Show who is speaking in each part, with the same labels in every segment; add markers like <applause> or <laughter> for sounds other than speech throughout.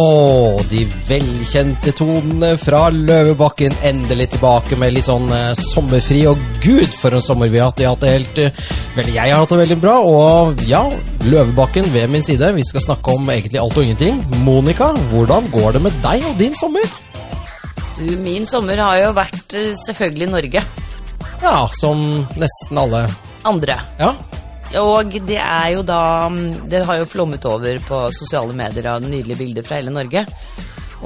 Speaker 1: Og de velkjente tonene fra Løvebakken endelig tilbake med litt sånn eh, sommerfri. Og gud, for en sommer vi har hatt. Jeg har hatt det helt eh, Vel, jeg har hatt det veldig bra. Og ja, Løvebakken ved min side. Vi skal snakke om egentlig alt og ingenting. Monica, hvordan går det med deg og din sommer?
Speaker 2: Du, min sommer har jo vært eh, selvfølgelig Norge.
Speaker 1: Ja, som nesten alle.
Speaker 2: Andre.
Speaker 1: Ja.
Speaker 2: Og det er jo da mm, Det har jo flommet over på sosiale medier av nydelige bilder fra hele Norge.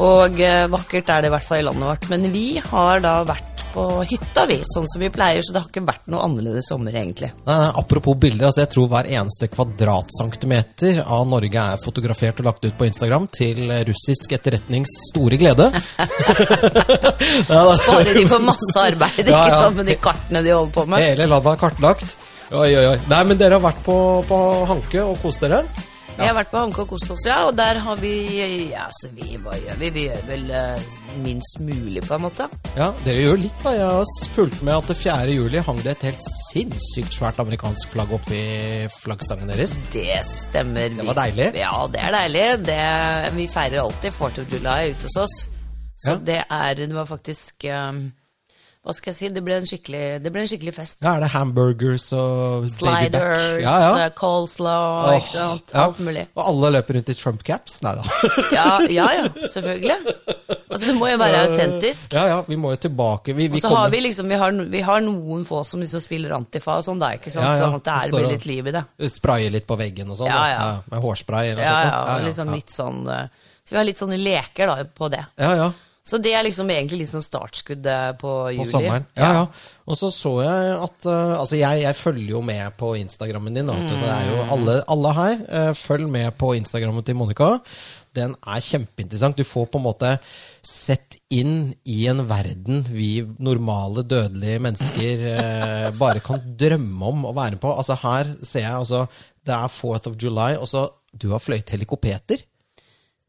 Speaker 2: Og eh, vakkert er det i hvert fall i landet vårt. Men vi har da vært på hytta, vi. Sånn som vi pleier. Så det har ikke vært noe annerledes sommer, egentlig.
Speaker 1: Nei, nei, apropos bilder, altså jeg tror hver eneste kvadratcentimeter av Norge er fotografert og lagt ut på Instagram til russisk etterretnings store glede. Ja, da-
Speaker 2: Bare de får masse arbeid,
Speaker 1: <laughs>
Speaker 2: ikke
Speaker 1: Ja, ja.
Speaker 2: sant, med de kartene de holder på med.
Speaker 1: Hele landet er kartlagt. Oi, oi, oi. Nei, men dere har vært på, på Hanke og kost dere?
Speaker 2: Vi har vært på Hanke og kost oss, ja, og der har vi Ja, så vi Hva gjør vi? Vi gjør vel eh, minst mulig, på en måte.
Speaker 1: Ja, dere gjør litt, da. Jeg har fulgt med at det 4. juli hang det et helt sinnssykt svært amerikansk flagg oppi flaggstangen deres.
Speaker 2: Det stemmer. Det
Speaker 1: var deilig.
Speaker 2: Ja, det er deilig. Det, vi feirer alltid 4th of July ute hos oss. Så
Speaker 1: Ja.
Speaker 2: det er Det var faktisk um, Hva skal jeg si? Det ble en skikkelig, det ble en skikkelig fest.
Speaker 1: Ja, er det hamburgers og baby back?
Speaker 2: Sliders,
Speaker 1: Ja, ja.
Speaker 2: eh, coleslaw,
Speaker 1: Åh,
Speaker 2: ikke sant.
Speaker 1: ja.
Speaker 2: Alt mulig.
Speaker 1: Og alle løper rundt i Trump-caps? Nei da. <laughs>
Speaker 2: Ja, ja, ja, selvfølgelig. Altså, det må jo være autentisk.
Speaker 1: Ja, ja, vi må jo tilbake. Vi, vi
Speaker 2: Og så har
Speaker 1: kommer-
Speaker 2: vi liksom vi har, no- vi har noen få som liksom spiller antifa og sånn, da, ikke sant.
Speaker 1: Ja, ja.
Speaker 2: Sånn at det
Speaker 1: Så
Speaker 2: er
Speaker 1: står
Speaker 2: vel
Speaker 1: og-
Speaker 2: litt liv i det.
Speaker 1: Spraye litt på veggen og sånn.
Speaker 2: Ja,
Speaker 1: da.
Speaker 2: ja.
Speaker 1: Med hårspray eller
Speaker 2: Ja,
Speaker 1: sånt,
Speaker 2: ja,
Speaker 1: da.
Speaker 2: og liksom litt sånn eh, Så vi har litt sånne leker da på det.
Speaker 1: ja, ja.
Speaker 2: Så det er liksom egentlig litt sånn startskuddet på juli.
Speaker 1: På sommeren. Ja, ja. Og så så jeg at eh, Altså, jeg, jeg følger jo med på Instagrammen din. Da. vet du. Det er jo alle, alle her. eh, følg med på Instagrammen til Monica. Den er kjempeinteressant. Du får på en måte sett inn i en verden vi normale, dødelige mennesker eh, bare kan drømme om å være på. Altså, her ser jeg altså Det er 4th of July, og så Du har fløyet helikopeter.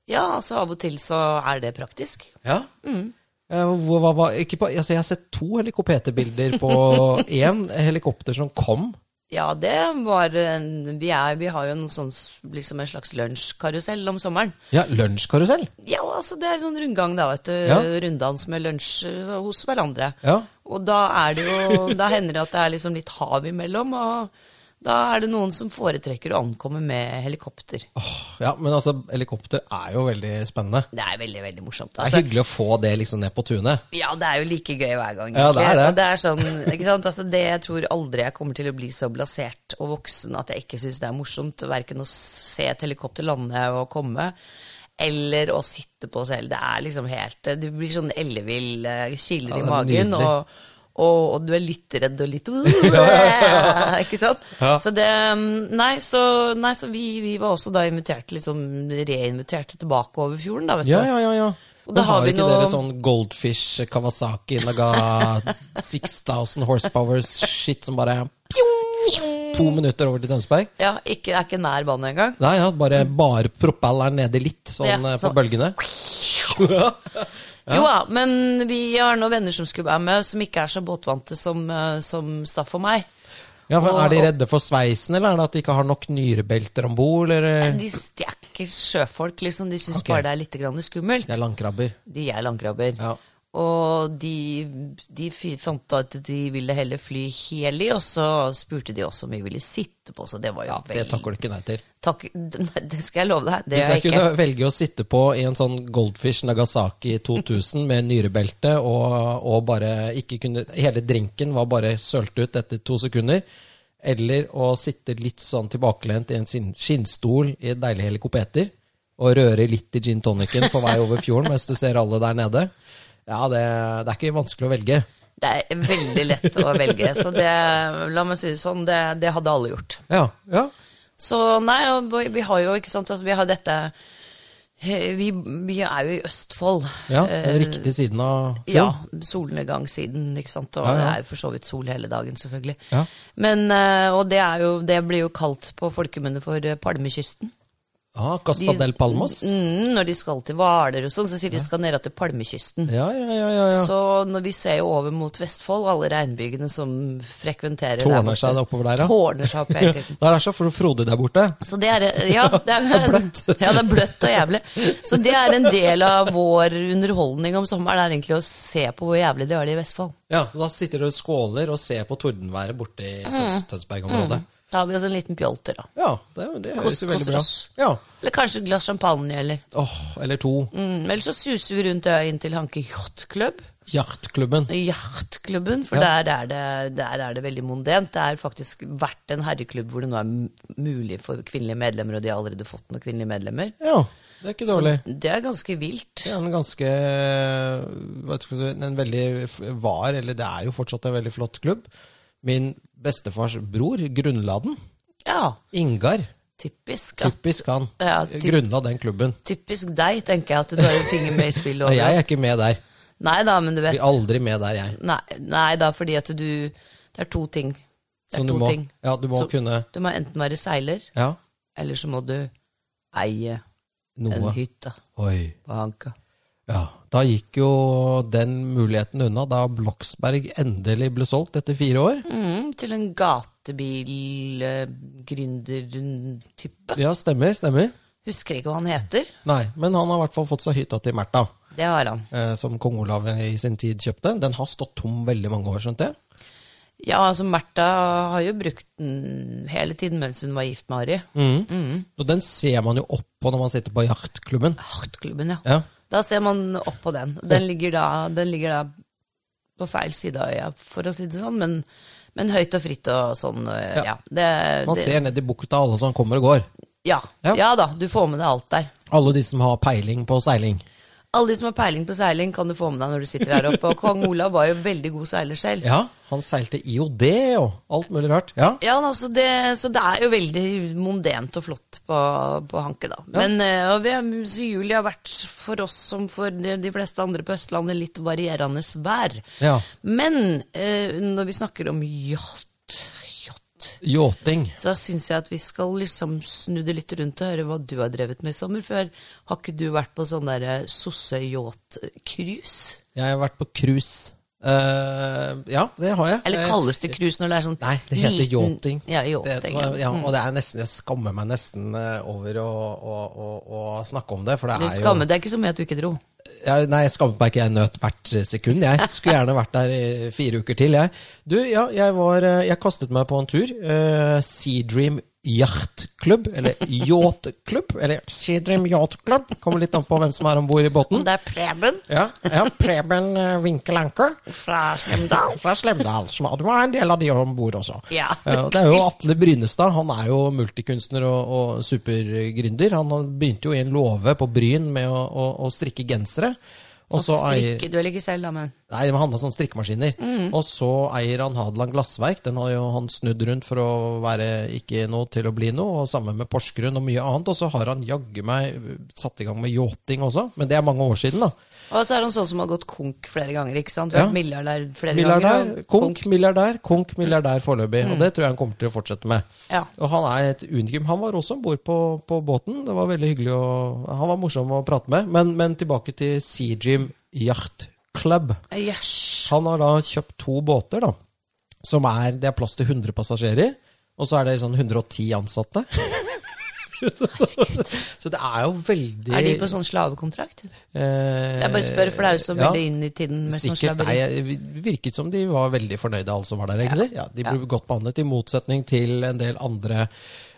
Speaker 2: Ja, så av og til så er det praktisk.
Speaker 1: Ja.
Speaker 2: Mm.
Speaker 1: Eh, Hva, hva, hva, ikke på, altså jeg har sett to helikopterbilder på
Speaker 2: <laughs>
Speaker 1: én helikopter som kom.
Speaker 2: Ja, det var en, vi, er, vi har jo noe sånn, s- liksom en slags lunsjkarusell om sommeren.
Speaker 1: Ja, lunsjkarusell.
Speaker 2: Ja, altså det er sånn rundgang da, vet du.
Speaker 1: Ja.
Speaker 2: Runddans med lunsj eh, hos hverandre.
Speaker 1: Ja.
Speaker 2: Og da er det jo, da hender det at det er liksom litt hav imellom, og da er det noen som foretrekker å ankomme med helikopter.
Speaker 1: ja, men altså, helikopter er jo veldig spennende.
Speaker 2: Det er veldig, veldig morsomt.
Speaker 1: Det er
Speaker 2: Altså,
Speaker 1: hyggelig å få det liksom ned på tunet.
Speaker 2: Ja, det er jo like gøy hver gang.
Speaker 1: Ja, det er
Speaker 2: egentlig.
Speaker 1: det.
Speaker 2: Og det er sånn, ikke sant? Altså, det jeg tror aldri jeg kommer til å bli så blasert og voksen at jeg ikke syns det er morsomt, verken å se et helikopter lande og komme, eller å sitte på selv. Det er liksom helt Du blir sånn ellevill, eh, kiler
Speaker 1: Ja, det er
Speaker 2: i magen,
Speaker 1: nydelig.
Speaker 2: og, og, og du er litt redd
Speaker 1: <laughs>
Speaker 2: og litt <laughs> Ikke sant?
Speaker 1: Ja.
Speaker 2: Så det mm, Nei, så, nei, så vi, vi var også da invitert, liksom reinvitert tilbake over fjorden, da, vet
Speaker 1: Ja,
Speaker 2: du.
Speaker 1: ja, ja. ja.
Speaker 2: Og
Speaker 1: Men
Speaker 2: da har
Speaker 1: har
Speaker 2: vi
Speaker 1: ikke
Speaker 2: noe-
Speaker 1: dere sånn Goldfish eh, Kawasaki Naga
Speaker 2: <laughs>
Speaker 1: 6000 horsepowers shit som bare pjong, To minutter over til Tønsberg?
Speaker 2: Ja, ikke, er ikke nær vannet engang.
Speaker 1: Nei, ja, bare, bare propelleren nede litt, sånn
Speaker 2: Mm. Ja,
Speaker 1: eh, på
Speaker 2: sånn.
Speaker 1: bølgene. <laughs>
Speaker 2: <laughs> Jo da, men vi har noen venner som skulle være med, som ikke er så båtvante som, eh, som Staff og meg.
Speaker 1: Ja, for
Speaker 2: Og-
Speaker 1: Er de
Speaker 2: og-
Speaker 1: redde for sveisen, eller er det at de ikke har nok nyrebelter om bord? Eller
Speaker 2: De, s- de er ikke sjøfolk, liksom. De syns
Speaker 1: Ok.
Speaker 2: bare det er litt grann skummelt.
Speaker 1: de er landkrabber?
Speaker 2: De er landkrabber.
Speaker 1: Ja.
Speaker 2: Og de, de fi- fant ut at de ville heller fly heli, og så spurte de også om vi ville sitte på, så det var jo
Speaker 1: Ja, Det
Speaker 2: vel-
Speaker 1: takker du ikke nei til.
Speaker 2: takk- <laughs> Nei, det skal jeg love deg. Det
Speaker 1: Hvis
Speaker 2: gjør
Speaker 1: jeg
Speaker 2: jeg ikke.
Speaker 1: kunne velge å sitte på i en sånn Goldfish Nagasaki 2000
Speaker 2: <laughs>
Speaker 1: med nyrebelte og, og bare ikke kunne Hele drinken var bare sølt ut etter to sekunder. Eller å sitte litt sånn tilbakelent i en sin- skinnstol i et deilig helikopeter og røre litt i gin tonicen på vei over fjorden mens du ser alle der nede. Ja, det, det er ikke vanskelig å velge.
Speaker 2: Det er veldig lett å velge. Så det, la meg si det sånn, det, det hadde alle gjort.
Speaker 1: Ja, ja.
Speaker 2: Så nei, og vi- vi har jo ikke sant, altså, vi har dette vi, vi er jo i Østfold.
Speaker 1: Ja,
Speaker 2: Eh,
Speaker 1: den riktige siden av fjorden.
Speaker 2: ja, solnedgangssiden, ikke sant. Og
Speaker 1: Ja, ja.
Speaker 2: det er jo for så vidt sol hele dagen, selvfølgelig.
Speaker 1: Ja.
Speaker 2: Men, eh, og det, er jo, det blir jo kalt på folkemunne for eh, Palmekysten.
Speaker 1: Ah, Costa
Speaker 2: De-
Speaker 1: del Palmos?
Speaker 2: Mm, når de skal til Hvaler og sånn, så sier de de skal ned til Palmekysten.
Speaker 1: Ja, ja, ja. ja, ja.
Speaker 2: Så når vi ser jo over mot Vestfold, alle regnbygene som frekventerer
Speaker 1: Tårner seg det oppover der, ja.
Speaker 2: Tårner seg opp hele
Speaker 1: <laughs>
Speaker 2: tiden.
Speaker 1: Der er så fro- frodig der borte.
Speaker 2: Så det er, ja, det er bløtt. <laughs> Ja, det er bløtt og jævlig. Så det er en del av vår underholdning om sommeren, er egentlig å se på hvor jævlig de har det i Vestfold.
Speaker 1: Ja, Da sitter dere og skåler og ser på tordenværet borte i
Speaker 2: Mm.
Speaker 1: Tøns Tønsberg-området.
Speaker 2: Da har vi oss en liten pjolter, da.
Speaker 1: Ja, det, det høres jo
Speaker 2: Kos-
Speaker 1: veldig
Speaker 2: koser
Speaker 1: bra
Speaker 2: oss.
Speaker 1: Ja,
Speaker 2: Eller kanskje et glass champagne, eller.
Speaker 1: Åh, Eller to.
Speaker 2: Mm, eller så suser vi rundt øya inn til Hanke Yachtklubb.
Speaker 1: Jaktklubben.
Speaker 2: Yachtklubben, for der, er det, der er det veldig mondent. Det er faktisk vært en herreklubb hvor det nå er m- mulig for kvinnelige medlemmer, og de har allerede fått noen kvinnelige medlemmer.
Speaker 1: Ja, det er ikke dårlig.
Speaker 2: Så det er ganske vilt.
Speaker 1: Det er en ganske hva skal jeg si, En veldig f- var, eller det er jo fortsatt en veldig flott klubb. Min bestefars bror grunnla den.
Speaker 2: Ja,
Speaker 1: Ingar.
Speaker 2: typisk. at-
Speaker 1: Typisk han.
Speaker 2: Ja, ty-
Speaker 1: grunnla den klubben.
Speaker 2: Typisk deg, tenker jeg, at du har en finger med i spillet.
Speaker 1: Nei,
Speaker 2: over.
Speaker 1: jeg er ikke med der.
Speaker 2: Nei da, men du vet.
Speaker 1: Blir aldri med der, jeg.
Speaker 2: Nei, nei da, fordi at du Det er to ting. Det er
Speaker 1: Så du
Speaker 2: to
Speaker 1: må,
Speaker 2: ting.
Speaker 1: ja, du må
Speaker 2: Så-
Speaker 1: kunne
Speaker 2: Du må enten være seiler,
Speaker 1: Ja,
Speaker 2: eller så må du eie en
Speaker 1: noe.
Speaker 2: hytte
Speaker 1: Oi.
Speaker 2: på Hanka.
Speaker 1: Ja, Da gikk jo den muligheten unna da Bloksberg endelig ble solgt etter fire år.
Speaker 2: Mm, til en gatebilgründer-type.
Speaker 1: Ja, stemmer. stemmer.
Speaker 2: Husker ikke hva han heter.
Speaker 1: Nei, men han har i hvert fall fått seg hytta til Märtha,
Speaker 2: Det har han.
Speaker 1: eh, som kong Olav i sin tid kjøpte. Den har stått tom veldig mange år, skjønte jeg.
Speaker 2: Ja, altså Märtha har jo brukt den hele tiden mens hun var gift med Ari.
Speaker 1: Mm.
Speaker 2: Mm.
Speaker 1: Og den ser man jo opp på når man sitter på jaktklubben.
Speaker 2: Hartklubben, ja.
Speaker 1: Ja,
Speaker 2: Da ser man opp på den. Den ligger da, den ligger da på feil side av øya, for å si det sånn, men, men høyt og fritt og sånn. øh, Ja. det,
Speaker 1: Man
Speaker 2: det,
Speaker 1: ser ned i bukta alle som kommer og går.
Speaker 2: ja.
Speaker 1: Ja.
Speaker 2: ja da, du får med deg alt der.
Speaker 1: Alle de som har peiling på seiling.
Speaker 2: Alle de som har peiling på seiling, kan du få med deg når du sitter her oppe. Og kong Olav var jo veldig god seiler selv.
Speaker 1: Ja, han seilte IOD og alt mulig rart. Ja,
Speaker 2: Ja, men altså det, Så det er jo veldig mondent og flott på, på Hanke, da. Men eh, og vi, er- så juli har vært for oss som for de, de fleste andre på Østlandet litt varierende vær.
Speaker 1: Ja.
Speaker 2: Men eh, når vi snakker om yacht, yacht
Speaker 1: Yachting.
Speaker 2: så syns jeg at vi skal liksom snu det litt rundt og høre hva du har drevet med i sommer. For har ikke du vært på sånn derre sosse-yacht-cruise?
Speaker 1: Jeg har vært på cruise. Eh, ja, det har jeg.
Speaker 2: Eller
Speaker 1: Eh,
Speaker 2: kalles det cruise når det er sånn
Speaker 1: Nei, det heter
Speaker 2: liten-
Speaker 1: yachting.
Speaker 2: Ja,
Speaker 1: Det-
Speaker 2: yachting. ja. Mm.
Speaker 1: ja, og det er nesten, jeg skammer meg nesten eh, over å, å, å, å snakke om det, for det
Speaker 2: Du
Speaker 1: er jo
Speaker 2: skammet deg ikke så mye at du ikke dro.
Speaker 1: jeg, Nei, jeg skammet meg ikke, jeg nøt hvert sekund, jeg. Skulle gjerne vært der i fire uker til, jeg. Du, ja, jeg var eh, Jeg kastet meg på en tur. eh, Sea Dream Yacht Club, eller Yacht Club, eller Sea Dream Yacht Club. Kommer litt an på hvem som er om bord i båten.
Speaker 2: Det er Preben
Speaker 1: Ja, ja Preben eh, Winkel Anker
Speaker 2: fra Slemdal.
Speaker 1: fra Slemdal, som du var en del av de om bord også.
Speaker 2: Ja.
Speaker 1: Eh, Det er jo Atle Brynestad. Han er jo multikunstner og, og supergründer. Han han begynte jo i en låve på Bryn med å, å, å strikke gensere. Og så eier,
Speaker 2: Strikke du vel ikke selv, da, men
Speaker 1: nei, men han har sånne strikkemaskiner. Og så eier han Hadeland Glassverk. Den har jo han snudd rundt for å være ikke noe til å bli noe. Og sammen med Porsgrunn og mye annet. Og så har han jaggu meg satt i gang med yachting også. Men det er mange år siden, da.
Speaker 2: Og så er han sånn som har gått konk flere ganger, ikke sant?
Speaker 1: Ja.
Speaker 2: Vært milliardær flere ganger.
Speaker 1: Milliardær,
Speaker 2: og
Speaker 1: konk, milliardær, konk, milliardær foreløpig. Og det tror jeg han kommer til å fortsette med.
Speaker 2: Ja.
Speaker 1: Og han er et unikum. Han var også om bord på, på båten. Det var veldig hyggelig å Han var morsom å prate med. Men, men tilbake til Sea Dream Yacht Club.
Speaker 2: Yes.
Speaker 1: Han har da kjøpt to båter, da. Som er Det er plass til 100 passasjerer. Og så er det sånn 110 ansatte.
Speaker 2: <laughs>
Speaker 1: så det er jo veldig
Speaker 2: Er de på sånn slavekontrakt?
Speaker 1: eh,
Speaker 2: Jeg bare spør, for det er jo så
Speaker 1: ja.
Speaker 2: veldig inn i tiden med sånn
Speaker 1: Sikkert, nei,
Speaker 2: slaveri.
Speaker 1: jeg- Det virket som de var veldig fornøyde, alle som var der. egentlig. Ja, de ble
Speaker 2: ja.
Speaker 1: godt behandlet, i motsetning til en del andre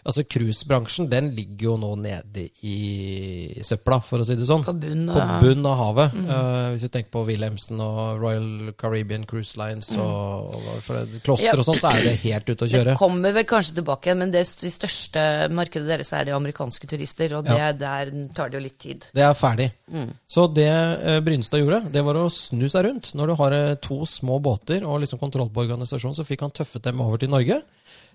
Speaker 1: Altså, Cruisebransjen den ligger jo nå nede i søpla, for å si det sånn.
Speaker 2: På bunnen
Speaker 1: På
Speaker 2: av-
Speaker 1: bunn av havet. Eh, hvis du tenker på Wilhelmsen og Royal Caribbean Cruise Lines og, og for det- kloster og
Speaker 2: Mm. Ja.
Speaker 1: sånn, så er det helt ute å
Speaker 2: Det
Speaker 1: kjøre.
Speaker 2: kommer vel kanskje tilbake igjen, men det, det største markedet deres er det amerikanske turister, og det, der tar det jo litt tid.
Speaker 1: Det er ferdig. Så det eh, Brynstad gjorde, det var å snu seg rundt. Når du har eh, to små båter og liksom kontroll på organisasjonen, så fikk han tøffet dem over til Norge.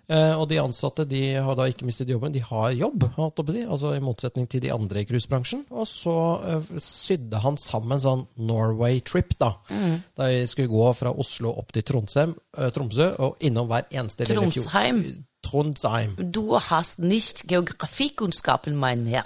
Speaker 1: Eh, og de ansatte de har da ikke mistet jobben, de har jobb, holdt jeg på å si, altså i motsetning til de andre i cruisebransjen. Og så eh, sydde han sammen sånn Norway-trip, da. Da vi skulle gå fra Oslo opp til Trondheim, eh, Tromsø, og innom hver eneste lille fjord.
Speaker 2: Trondheim.
Speaker 1: Trondheim.
Speaker 2: Du hast nicht Geografikunnskapen mein her.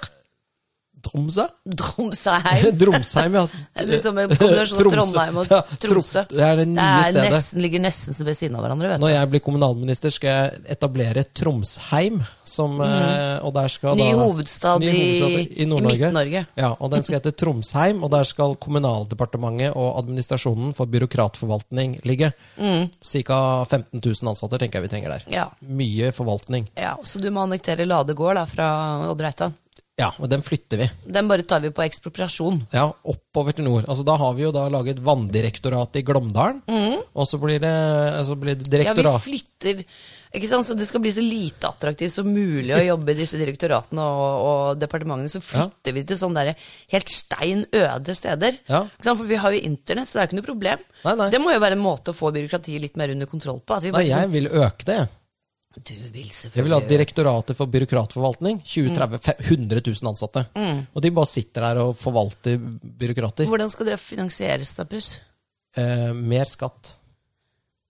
Speaker 1: Tromsø?
Speaker 2: Tromsheim.
Speaker 1: Tromsheim, ja.
Speaker 2: <laughs> Det er Som en kombinasjon av
Speaker 1: Tromsø.
Speaker 2: Trondheim og
Speaker 1: Ja,
Speaker 2: Tromsø.
Speaker 1: Trom- Det er det nye
Speaker 2: er
Speaker 1: stedet.
Speaker 2: Nesten, ligger nesten ved siden av hverandre, vet du.
Speaker 1: Når jeg blir kommunalminister, skal jeg etablere Tromsheim. Som, eh, og der skal
Speaker 2: Mhm. Ny
Speaker 1: da,
Speaker 2: hovedstad
Speaker 1: ny
Speaker 2: i-
Speaker 1: hovedstad
Speaker 2: i
Speaker 1: Nord-Norge.
Speaker 2: Midt-Norge.
Speaker 1: Ja, og den skal hete Tromsheim, og der skal Kommunaldepartementet og administrasjonen for byråkratforvaltning ligge. Ca. 15 000 ansatte tenker jeg vi trenger der.
Speaker 2: Mm. Ja.
Speaker 1: Mye forvaltning.
Speaker 2: ja, Så du må annektere Lade gård da, fra Odd Reitan.
Speaker 1: Ja, og den flytter vi.
Speaker 2: Den bare tar vi på ekspropriasjon.
Speaker 1: Ja, oppover til nord. Altså, da har vi jo da laget vanndirektoratet i Glåmdalen. Og så blir det, så blir det
Speaker 2: Mm. Ja, vi
Speaker 1: direktorat.
Speaker 2: flytter ikke sant? Så Det skal bli så lite attraktivt som mulig å jobbe i disse direktoratene og, og departementene. Så flytter vi til sånne der helt stein øde steder.
Speaker 1: Ja.
Speaker 2: Ikke sant? For vi har jo internett, så det er ikke noe problem.
Speaker 1: Nei, nei.
Speaker 2: Det må jo være en måte å få byråkratiet litt mer under kontroll på. At vi
Speaker 1: Nei,
Speaker 2: bare
Speaker 1: jeg vil øke det. jeg.
Speaker 2: sånn, du vil selvfølgelig
Speaker 1: Jeg vil ha Direktoratet for byråkratforvaltning. 20-30
Speaker 2: Mm.
Speaker 1: 100 000 ansatte. Og de bare sitter der og forvalter byråkrater.
Speaker 2: Hvordan skal det finansieres da, Puss?
Speaker 1: Eh, mer skatt.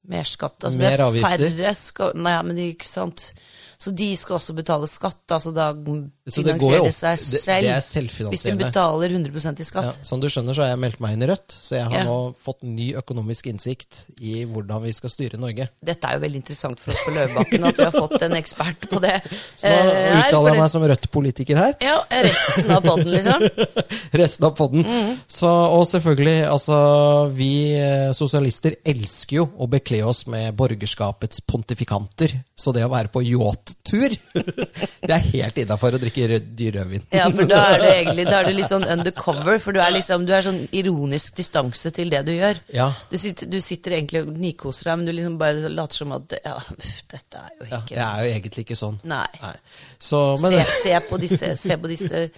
Speaker 2: Mer skatt? Altså,
Speaker 1: Mer
Speaker 2: det er
Speaker 1: avgifter.
Speaker 2: Færre skal, nei, men det- ikke sant. Så de skal også betale skatt, altså da
Speaker 1: Så det går jo
Speaker 2: finansierer
Speaker 1: opp.
Speaker 2: det seg
Speaker 1: Det- det
Speaker 2: selv.
Speaker 1: er
Speaker 2: hvis de
Speaker 1: selvfinansierende.
Speaker 2: betaler 100 i skatt.
Speaker 1: Ja, som du skjønner, så har jeg meldt meg inn i Rødt, så jeg har
Speaker 2: Ja.
Speaker 1: nå fått ny økonomisk innsikt i hvordan vi skal styre Norge.
Speaker 2: Dette er jo veldig interessant for oss på Løvebakken, at vi har fått en ekspert på
Speaker 1: <laughs>
Speaker 2: det.
Speaker 1: Så da
Speaker 2: Eh, her, for
Speaker 1: uttaler
Speaker 2: det-
Speaker 1: jeg meg som Rødt-politiker her.
Speaker 2: Ja, resten av podden, liksom.
Speaker 1: <laughs> resten av podden. Så, og selvfølgelig, altså Vi eh, sosialister elsker jo å bekle oss med borgerskapets pontifikanter. Så det å være på yachttur <laughs> Det er helt innafor å drikke rød dyr rødvin.
Speaker 2: Ja, for da er det egentlig da er du litt sånn undercover, for du er liksom, du er sånn ironisk distanse til det du gjør.
Speaker 1: Ja.
Speaker 2: Du sitter, du sitter egentlig og nikkoser deg, men du liksom bare later som at ja, pff, dette er jo
Speaker 1: Ja,
Speaker 2: ikke
Speaker 1: jeg er jo egentlig ikke sånn.
Speaker 2: Nei.
Speaker 1: Så, men,
Speaker 2: Se, se, på disse, se på disse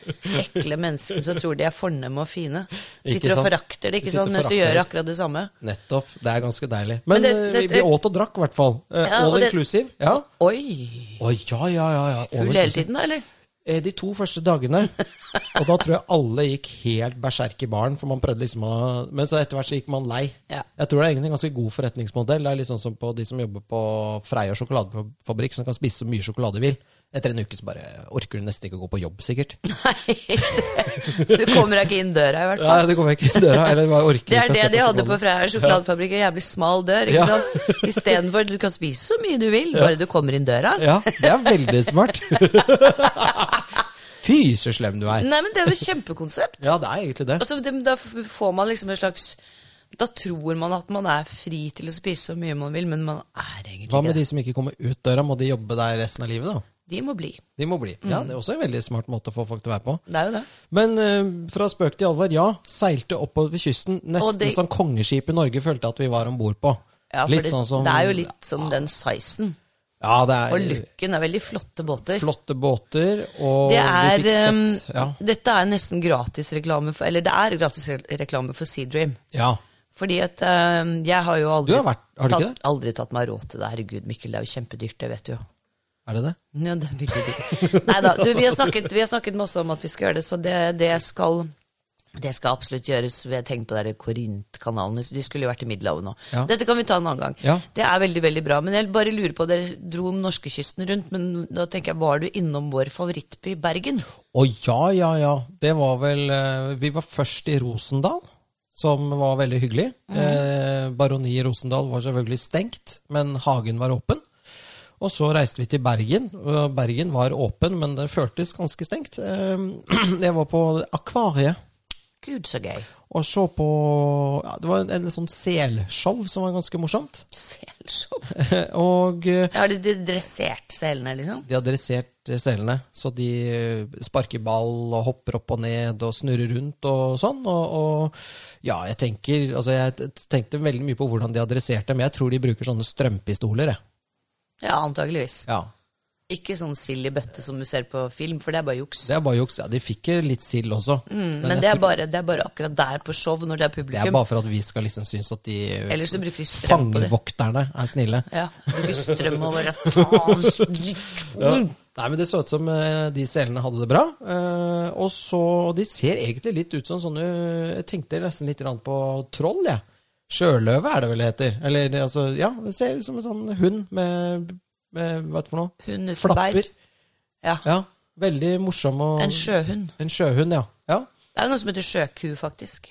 Speaker 2: ekle menneskene som tror de er fornemme og fine.
Speaker 1: Ikke
Speaker 2: Sitter og
Speaker 1: sant?
Speaker 2: forakter det,
Speaker 1: De
Speaker 2: ikke
Speaker 1: sitter
Speaker 2: sant, mens du
Speaker 1: og forakter
Speaker 2: gjør
Speaker 1: det.
Speaker 2: akkurat det samme.
Speaker 1: Nettopp. Det er ganske deilig. Men,
Speaker 2: Men det-
Speaker 1: eh,
Speaker 2: det-
Speaker 1: vi, vi åt og drakk, i hvert fall. Eh,
Speaker 2: Ja, og
Speaker 1: all
Speaker 2: det-
Speaker 1: inclusive. Ja.
Speaker 2: Oi!
Speaker 1: Å, ja, ja, ja. ja. all
Speaker 2: Full hele
Speaker 1: inclusive.
Speaker 2: tiden, da, eller?
Speaker 1: Eh, De to første dagene. Og da tror jeg alle gikk helt berserk i baren. For man prøvde liksom å Men så etter hvert så gikk man lei.
Speaker 2: Ja.
Speaker 1: Jeg tror det er egentlig en ganske god forretningsmodell. Det er litt sånn som på de som jobber på Freia sjokoladefabrikk, som kan spise så mye sjokolade de vil. Etter en uke så bare orker du nesten ikke å gå på jobb, sikkert.
Speaker 2: Nei, du kommer deg ikke inn døra, i
Speaker 1: <laughs>
Speaker 2: hvert
Speaker 1: Nei,
Speaker 2: fall.
Speaker 1: det kommer jeg ikke i døra. Eller bare orker
Speaker 2: Det er
Speaker 1: ikke å
Speaker 2: det
Speaker 1: se
Speaker 2: de hadde på
Speaker 1: sjokolade.
Speaker 2: Freia sjokoladefabrikk. En jævlig smal dør. ikke
Speaker 1: Ja.
Speaker 2: sant? Istedenfor du kan spise så mye du vil, bare du kommer inn døra.
Speaker 1: Ja, det er veldig smart. <laughs> Fy, så slem du er.
Speaker 2: Nei, men Det er jo et kjempekonsept.
Speaker 1: Ja, det er egentlig det.
Speaker 2: Altså, det, da f- får man liksom en slags Da tror man at man er fri til å spise så mye man vil, men man er egentlig
Speaker 1: Hva med
Speaker 2: ikke det.
Speaker 1: de som ikke kommer ut døra? Må de jobbe der resten av livet, da?
Speaker 2: De må bli.
Speaker 1: De må bli.
Speaker 2: Mm.
Speaker 1: Ja, Det er også en veldig smart måte å få folk til å være på.
Speaker 2: Det er jo det.
Speaker 1: Men eh, fra spøk til alvor, ja. Seilte oppover kysten.
Speaker 2: Og
Speaker 1: Nesten
Speaker 2: det-
Speaker 1: som kongeskip i Norge følte at vi var om bord på.
Speaker 2: Ja, for
Speaker 1: litt
Speaker 2: det,
Speaker 1: sånn som Eh,
Speaker 2: det er jo litt sånn den sizen.
Speaker 1: Ja, det
Speaker 2: Og
Speaker 1: er
Speaker 2: looken er veldig flotte båter.
Speaker 1: flotte båter, og
Speaker 2: Det er,
Speaker 1: vi fikk sett
Speaker 2: ehm,
Speaker 1: Ja.
Speaker 2: Dette er nesten gratisreklame for Eller det er gratisreklame for Sea Dream.
Speaker 1: ja.
Speaker 2: Fordi at ehm, jeg har jo aldri,
Speaker 1: Du har vært- har du ikke
Speaker 2: tatt, aldri tatt meg råd til det. Herregud, Mikkel, det er jo kjempedyrt, det vet du jo.
Speaker 1: Er det det?
Speaker 2: Ja, det er veldig dyrt. Neida, du, vi har, snakket, vi har snakket masse om at vi skal gjøre det, så det, det skal det skal absolutt gjøres. Vi har tenkt på det der Korint-kanalen. De skulle jo vært i Middelhavet nå.
Speaker 1: Ja.
Speaker 2: Dette kan vi ta en annen gang.
Speaker 1: Ja.
Speaker 2: Det er veldig veldig bra. Men jeg bare lurer på, Dere dro norskekysten rundt, men da tenker jeg, var du innom vår favorittby, Bergen?
Speaker 1: Å ja, ja, ja. Det var vel eh, Vi var først i Rosendal, som var veldig hyggelig. Eh, Baroni i Rosendal var selvfølgelig stengt, men hagen var åpen. Og så reiste vi til Bergen. og Bergen var åpen, men det føltes ganske stengt. Eh, <clears throat> Jeg var på Akvariet
Speaker 2: Gud, så gøy.
Speaker 1: og så på ja, Det var en, en sånn selshow som var ganske morsomt. <laughs>
Speaker 2: Selshow.
Speaker 1: Og eh,
Speaker 2: Har de dressert selene, liksom?
Speaker 1: de har dressert selene, så de eh, sparker ball og hopper opp og ned og snurrer rundt og sånn. Og, og ja, jeg tenker Altså, jeg t- tenkte veldig mye på hvordan de har dressert dem. Jeg tror de bruker sånne strømpistoler, jeg.
Speaker 2: Ja, antageligvis.
Speaker 1: Ja.
Speaker 2: Ikke sånn sild i bøtte som du ser på film, for det er bare juks.
Speaker 1: Det er bare juks. Ja, de fikk jo litt sild også.
Speaker 2: Mm, men det er, bare, det er bare akkurat der på show, når det er
Speaker 1: Det er
Speaker 2: publikum.
Speaker 1: bare for at vi skal liksom synes at de
Speaker 2: Ellers så bruker vi strøm på det.
Speaker 1: fangevokterne er snille.
Speaker 2: Ja, bruker strøm og bare faen s-
Speaker 1: Nei, men Det så ut som eh, de selene hadde det bra. Eh, og så, og De ser egentlig litt ut som sånne Jeg tenkte nesten litt grann på troll. jeg. Sjøløve er det vel det heter. Eller det, altså, ja, det ser ut som en sånn hund med, med Hva er det for noe?
Speaker 2: Hun uten
Speaker 1: Flapper.
Speaker 2: beit. Ja.
Speaker 1: Ja, Veldig morsom og
Speaker 2: En sjøhund.
Speaker 1: En sjøhund, ja. ja.
Speaker 2: Det er jo noe som heter sjøku, faktisk.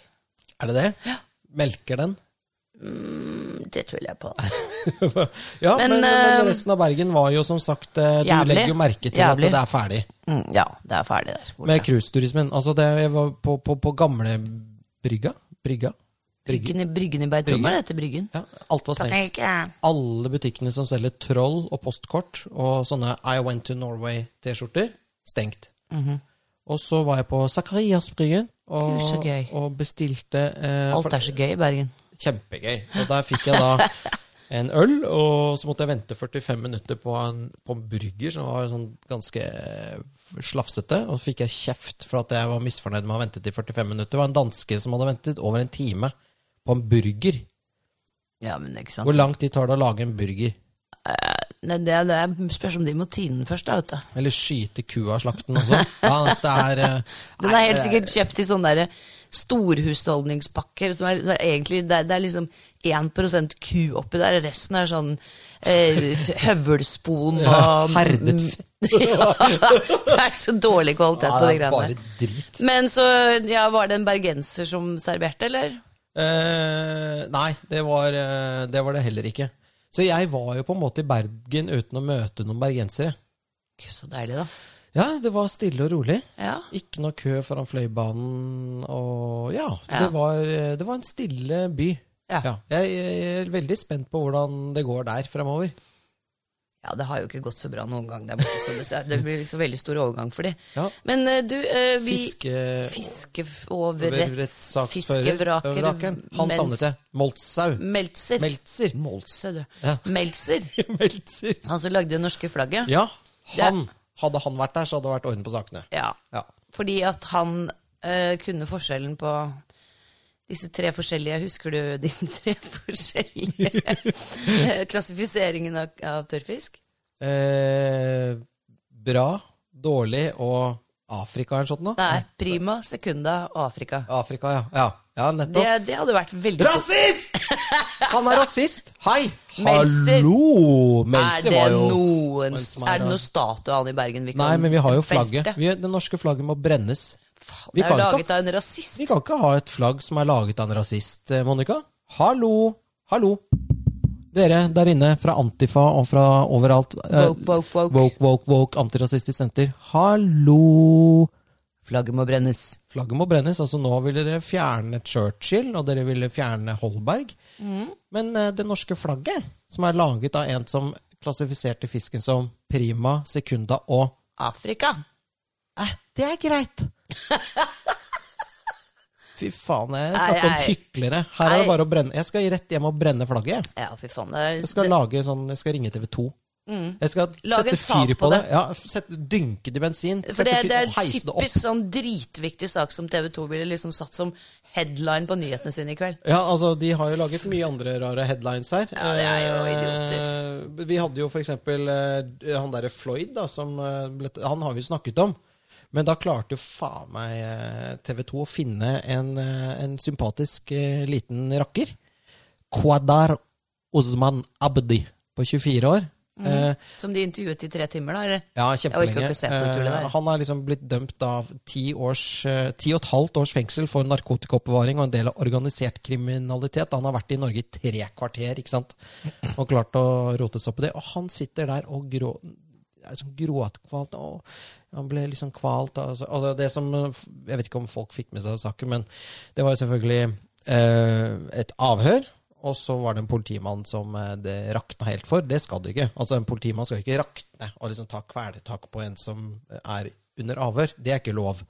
Speaker 1: Er det det? Melker den?
Speaker 2: Mm, Det tviler jeg på. Altså.
Speaker 1: ja, men,
Speaker 2: Men,
Speaker 1: men,
Speaker 2: eh,
Speaker 1: resten av Bergen var jo som sagt eh, Du
Speaker 2: jævlig.
Speaker 1: legger jo merke til
Speaker 2: Jævlig.
Speaker 1: at det er ferdig
Speaker 2: Mm, ja, det er ferdig der. borte.
Speaker 1: med cruiseturismen. Altså, det jeg var på, på, på gamle brygga. Brygga. Brygge.
Speaker 2: Bryggen i, bryggen i Bergtrommer heter Bryggen.
Speaker 1: Ja, alt var stengt. Alle butikkene som selger troll og postkort og sånne I Went to Norway-T-skjorter, stengt. Og så var jeg på Zakarias Bryggen og,
Speaker 2: Mhm. Gud, så gøy.
Speaker 1: og bestilte eh, for-
Speaker 2: Alt er så gøy i Bergen.
Speaker 1: Kjempegøy. Og der fikk jeg
Speaker 2: <laughs>
Speaker 1: da en øl, og så måtte jeg vente 45 minutter på en, på en burger som var sånn ganske eh, slafsete. Og så fikk jeg kjeft for at jeg var misfornøyd med å ha ventet i 45 minutter. Det var en danske som hadde ventet over en time på en burger.
Speaker 2: Ja, men ikke sant.
Speaker 1: Hvor lang tid tar det å lage en burger?
Speaker 2: Nei, det, det er spørs om de må tine den først, da, vet du.
Speaker 1: Eller skyte kua av slakten
Speaker 2: <laughs>
Speaker 1: også? Ja, altså det er eh,
Speaker 2: Den er helt sikkert kjøpt i sånne der storhusholdningspakker. Som er, som er egentlig, det, er- det er liksom 1 ku oppi der, resten er sånn eh, f- høvelspon og
Speaker 1: herdet f-
Speaker 2: <laughs> Ja, det er så dårlig kvalitet
Speaker 1: ja,
Speaker 2: på
Speaker 1: det
Speaker 2: de
Speaker 1: er
Speaker 2: greiene
Speaker 1: bare
Speaker 2: der.
Speaker 1: drit.
Speaker 2: Men så ja, var det en bergenser som serverte, eller?
Speaker 1: Eh, nei, det var, eh, det var det heller ikke. Så jeg var jo på en måte i Bergen uten å møte noen bergensere.
Speaker 2: Gud, så deilig, da.
Speaker 1: Ja, det var stille og rolig.
Speaker 2: Ja.
Speaker 1: Ikke noe kø foran Fløibanen. Og ja,
Speaker 2: Ja.
Speaker 1: Det, var, eh, det var en stille by.
Speaker 2: Ja.
Speaker 1: Jeg, jeg er veldig spent på hvordan det går der fremover.
Speaker 2: Ja, det har jo ikke gått så bra noen gang der borte, så det, så det blir liksom veldig stor overgang for de.
Speaker 1: Ja.
Speaker 2: Men eh, du, eh, vi
Speaker 1: Fiske-
Speaker 2: Fiskeoverretts...
Speaker 1: Rettssaksfører.
Speaker 2: Fiskevraker.
Speaker 1: Han savnet jeg. Moltsau.
Speaker 2: Meltzer.
Speaker 1: Meltzer.
Speaker 2: Meltzer, du.
Speaker 1: Ja.
Speaker 2: Meltzer.
Speaker 1: Meltzer.
Speaker 2: Han som lagde det norske flagget.
Speaker 1: Ja, han. Hadde han vært der, så hadde det vært orden på sakene.
Speaker 2: Ja.
Speaker 1: Ja.
Speaker 2: Fordi at han eh, kunne forskjellen på disse tre forskjellige Husker du de <laughs> tre forskjellige
Speaker 1: <laughs>
Speaker 2: eh, klassifiseringen av, av tørrfisk?
Speaker 1: Eh, bra, dårlig og Afrika eller noe sånt? da?
Speaker 2: Nei. Prima, secunda, Afrika.
Speaker 1: Afrika, ja. Ja, ja nettopp.
Speaker 2: Det, det hadde vært veldig
Speaker 1: Rasist! Han er rasist! Hei!
Speaker 2: Meltzer.
Speaker 1: Hallo!
Speaker 2: Er
Speaker 1: Meltzer
Speaker 2: det,
Speaker 1: var jo
Speaker 2: noen,
Speaker 1: en som er-
Speaker 2: er det noen statue av han i Bergen? vi kan
Speaker 1: Nei, men vi har jo flagget.
Speaker 2: velte?
Speaker 1: Vi, det norske flagget må brennes.
Speaker 2: Faen,
Speaker 1: vi
Speaker 2: det er jo
Speaker 1: kan ikke-
Speaker 2: laget av en rasist.
Speaker 1: Vi kan ikke ha et flagg som er laget av en rasist, eh, Monica. Hallo! Hallo! Dere der inne fra Antifa og fra overalt. eh,
Speaker 2: Woke, woke, woke.
Speaker 1: Woke, woke, woke, Antirasistisk senter. Hallo!
Speaker 2: Flagget må brennes.
Speaker 1: Flagget må brennes. altså Nå ville dere fjerne Churchill, og dere ville fjerne Holberg.
Speaker 2: Mm.
Speaker 1: Men eh, det norske flagget, som er laget av en som klassifiserte fisken som prima, secunda og
Speaker 2: Afrika.
Speaker 1: eh, Det er greit!
Speaker 2: <laughs>
Speaker 1: Fy faen, jeg
Speaker 2: Nei,
Speaker 1: snakker om
Speaker 2: nei.
Speaker 1: hyklere. Her er det
Speaker 2: Nei.
Speaker 1: bare å brenne. Jeg skal rett hjem og brenne flagget. jeg.
Speaker 2: Ja, fy faen. Det er,
Speaker 1: Jeg skal, lage sånn, jeg skal ringe TV 2. Jeg skal
Speaker 2: Lag en
Speaker 1: sette
Speaker 2: sak
Speaker 1: fyr
Speaker 2: på
Speaker 1: på det. Ja, sette, dynke det i bensin.
Speaker 2: For det,
Speaker 1: Sette fyr,
Speaker 2: det er
Speaker 1: og heise det opp.
Speaker 2: typisk sånn dritviktig sak som TV 2 ville liksom satt som headline på nyhetene sine i kveld.
Speaker 1: Ja, altså, De har jo laget mye andre rare headlines her.
Speaker 2: Ja, det er jo idioter.
Speaker 1: Eh, vi hadde jo for eksempel eh, han derre Floyd, da, som eh, ble, Han har vi jo snakket om. Men da klarte jo faen meg eh, TV 2 å finne en, eh, en sympatisk eh, liten rakker. Kwadar Osman Abdi på 24 år.
Speaker 2: Mm.
Speaker 1: Eh,
Speaker 2: Som de intervjuet i tre timer, da. Eller?
Speaker 1: ja,
Speaker 2: Jeg orker
Speaker 1: kjempelenge.
Speaker 2: ikke å se på det tullet der.
Speaker 1: Eh, han er liksom blitt dømt av ti, års, eh, ti og et halvt års fengsel for narkotikaoppbevaring og en del av organisert kriminalitet. Han har vært i Norge i tre kvarter ikke sant? og klart å rote seg opp i det. Og han sitter der og grå, er sånn gråtkvalt. og han ble liksom kvalt. Altså, altså det som, eh, f- jeg vet ikke om folk fikk med seg saken, men det var jo selvfølgelig eh, et avhør. Og så var det en politimann som eh, det rakna helt for. Det skal det ikke. Altså En politimann skal ikke rakne og liksom ta kvelertak på en som er under avhør. Det er ikke lov.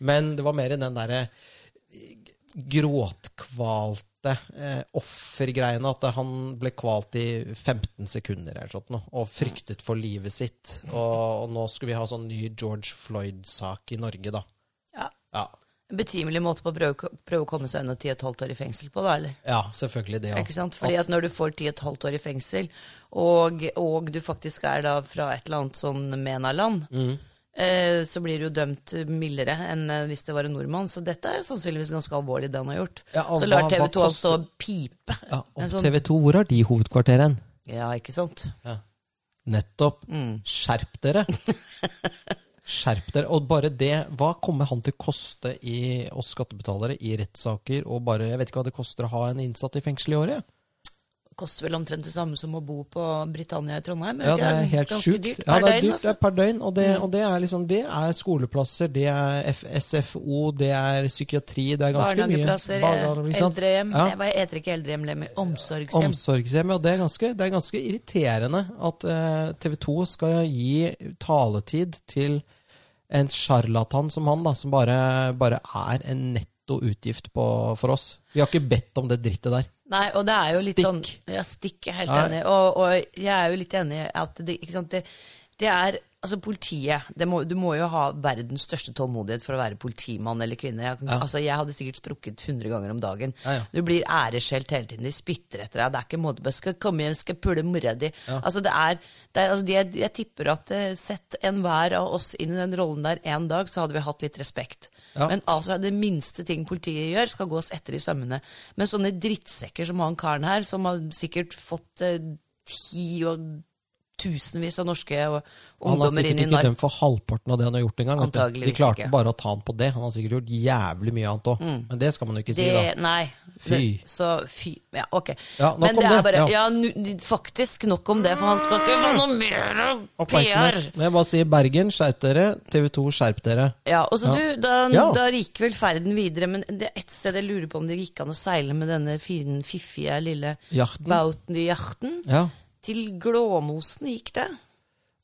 Speaker 1: Men det var mer i den derre eh, gråtkvalte eh, offergreiene. At han ble kvalt i 15 sekunder eller sånt, noe, og fryktet for livet sitt. Og, og nå skulle vi ha sånn ny George Floyd-sak i Norge, da.
Speaker 2: Ja.
Speaker 1: Ja,
Speaker 2: En betimelig måte på å prøve, prøve å komme seg unna ti og et halvt år i fengsel på, da, eller?
Speaker 1: ja selvfølgelig det
Speaker 2: Ikke
Speaker 1: òg.
Speaker 2: sant? Fordi at når du får ti og et halvt år i fengsel, og, og du faktisk er da fra et eller annet sånn MENA-land,
Speaker 1: Mm.
Speaker 2: eh, så blir du jo dømt mildere enn eh, hvis det var en nordmann. Så dette er sannsynligvis ganske alvorlig, det han har gjort.
Speaker 1: Ja, og
Speaker 2: så lar
Speaker 1: hva-
Speaker 2: TV
Speaker 1: hva
Speaker 2: 2 han stå og pipe.
Speaker 1: Ja,
Speaker 2: En
Speaker 1: og
Speaker 2: sånn-
Speaker 1: TV 2, hvor har de hovedkvarteret hen?
Speaker 2: Ja, ikke sant? Mm.
Speaker 1: Nettopp. Skjerp dere! Skjerp dere. Og bare det, hva kommer han til å koste i oss skattebetalere i rettssaker? Og bare, jeg vet ikke hva det koster å ha en innsatt i fengsel i året.
Speaker 2: Koster vel omtrent det samme som å bo på Britannia i Trondheim?
Speaker 1: Ja, det er
Speaker 2: ikke
Speaker 1: helt
Speaker 2: ganske
Speaker 1: sjukt.
Speaker 2: dyrt
Speaker 1: Ja, det
Speaker 2: per
Speaker 1: er dyrt
Speaker 2: døgn,
Speaker 1: det
Speaker 2: altså.
Speaker 1: er per døgn. Og, det, og det, er liksom, det er skoleplasser, det er F SFO, det er psykiatri, det er ganske mye.
Speaker 2: Barnehageplasser,
Speaker 1: Barnehager, ikke sant?
Speaker 2: eldrehjem
Speaker 1: Ja.
Speaker 2: Nei, hva heter ikke eldrehjem? Omsorgshjem.
Speaker 1: Omsorgshjem. Ja, det er ganske, det er ganske irriterende at eh, TV 2 skal gi taletid til en sjarlatan som han, da, som bare, bare er en netto utgift på, for oss. Vi har ikke bedt om det drittet der.
Speaker 2: Nei, og det er jo litt
Speaker 1: Stikk.
Speaker 2: sånn Ja, stikk er jeg helt
Speaker 1: Nei.
Speaker 2: enig. i. Og, og jeg er jo litt enig i at det, ikke sant, det, det er Altså, politiet det må, Du må jo ha verdens største tålmodighet for å være politimann eller -kvinne. Jeg, kan- altså, jeg hadde sikkert sprukket 100 ganger om dagen.
Speaker 1: Ja, ja.
Speaker 2: Du blir æreskjelt hele tiden. De spytter etter deg. Det er ikke måte på. Jeg 'Skal komme hjem, skal pule mora di'. Altså, det er, det er altså, de, Jeg tipper at eh, sett enhver av oss inn i den rollen der en dag, så hadde vi hatt litt respekt.
Speaker 1: Ja.
Speaker 2: Men altså, det minste ting politiet gjør, skal gås etter i sømmene. Men sånne drittsekker som han karen her, som har sikkert fått eh, ti og tusenvis av norske og
Speaker 1: Han har
Speaker 2: ungdommer
Speaker 1: sikkert
Speaker 2: inn i
Speaker 1: ikke
Speaker 2: nark...
Speaker 1: dømt for halvparten av det han har gjort engang. vet du.
Speaker 2: Antageligvis
Speaker 1: De klarte
Speaker 2: ikke. Mm.
Speaker 1: bare å ta han på det. Han har sikkert gjort jævlig mye annet òg. Men det skal man jo ikke
Speaker 2: Det,
Speaker 1: si, da.
Speaker 2: nei.
Speaker 1: Fy.
Speaker 2: Men- Så fy. Ja, ok.
Speaker 1: Ja, nok
Speaker 2: Men
Speaker 1: om
Speaker 2: det
Speaker 1: det,
Speaker 2: er bare
Speaker 1: ja.
Speaker 2: Ja, nu, faktisk nok om det, for han skal ikke få noe mer av PR!
Speaker 1: Oppmerksomhet. Men jeg bare sier Bergen, skjerp dere. TV 2, skjerp dere.
Speaker 2: Ja, og så
Speaker 1: Ja.
Speaker 2: du, da,
Speaker 1: Ja.
Speaker 2: da gikk vel ferden videre, men det er ett sted jeg lurer på om det gikk an å seile med denne fine, fiffige lille
Speaker 1: Yachten.
Speaker 2: bauten i jakten.
Speaker 1: Ja.
Speaker 2: Til Glåmosen gikk det.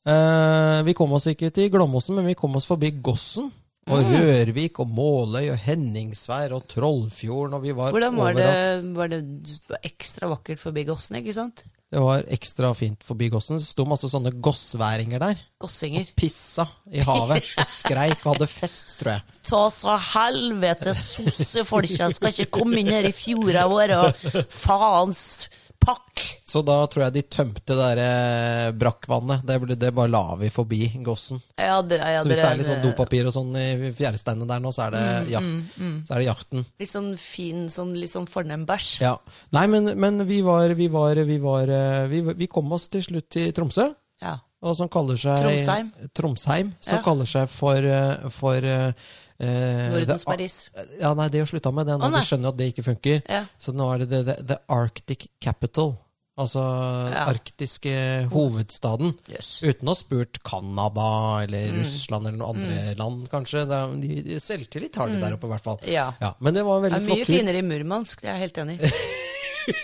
Speaker 1: Eh, vi kom oss ikke til Glåmosen, men vi kom oss forbi Gossen. Og
Speaker 2: Mm.
Speaker 1: Rørvik og Måløy og Henningsvær og Trollfjorden, og vi var,
Speaker 2: Hvordan var det,
Speaker 1: overalt.
Speaker 2: var det det var ekstra vakkert forbi Gossen, ikke sant?
Speaker 1: Det var ekstra fint forbi Gossen. Det sto masse sånne gossværinger der.
Speaker 2: Gossinger.
Speaker 1: Pissa i
Speaker 2: <laughs>
Speaker 1: havet og skreik og hadde fest, tror jeg.
Speaker 2: Ta så helvete sosse folk, jeg skal ikke komme inn her i fjorda våre og faens pakk.
Speaker 1: Så da tror jeg de tømte det derre brakkvannet. Det, ble- det bare la vi forbi Gossen.
Speaker 2: Ja, dere, ja,
Speaker 1: Så hvis det
Speaker 2: dere- Mm,
Speaker 1: er litt sånn dopapir og sånn i fjæresteinene der nå, så er det, jakt, så er det jakten.
Speaker 2: Litt sånn fin, sånn, litt sånn fornem bæsj.
Speaker 1: Ja. Nei, men, men vi var, vi var, vi var eh, vi, vi kom oss til slutt til Tromsø.
Speaker 2: Ja.
Speaker 1: Og som kaller seg
Speaker 2: Tromsheim.
Speaker 1: Tromsheim, som
Speaker 2: Ja.
Speaker 1: kaller seg for, eh, for eh, eh,
Speaker 2: Nordens
Speaker 1: det-
Speaker 2: Paris.
Speaker 1: Ja, nei, det har slutta med det. Nå
Speaker 2: Å, nei.
Speaker 1: de skjønner jo at det ikke funker.
Speaker 2: Ja.
Speaker 1: Så nå er det the, the, the Arctic Capital. Altså
Speaker 2: Ja.
Speaker 1: arktiske hovedstaden.
Speaker 2: Yes. Mm.
Speaker 1: Uten å ha spurt Canada eller Russland eller noen andre land, kanskje. Det er, de, de selvtillit har de der oppe, i hvert fall.
Speaker 2: Mm. Ja.
Speaker 1: Men det var en
Speaker 2: Det
Speaker 1: veldig
Speaker 2: er
Speaker 1: flott
Speaker 2: mye
Speaker 1: tur.
Speaker 2: finere i Murmansk, det er jeg helt enig i.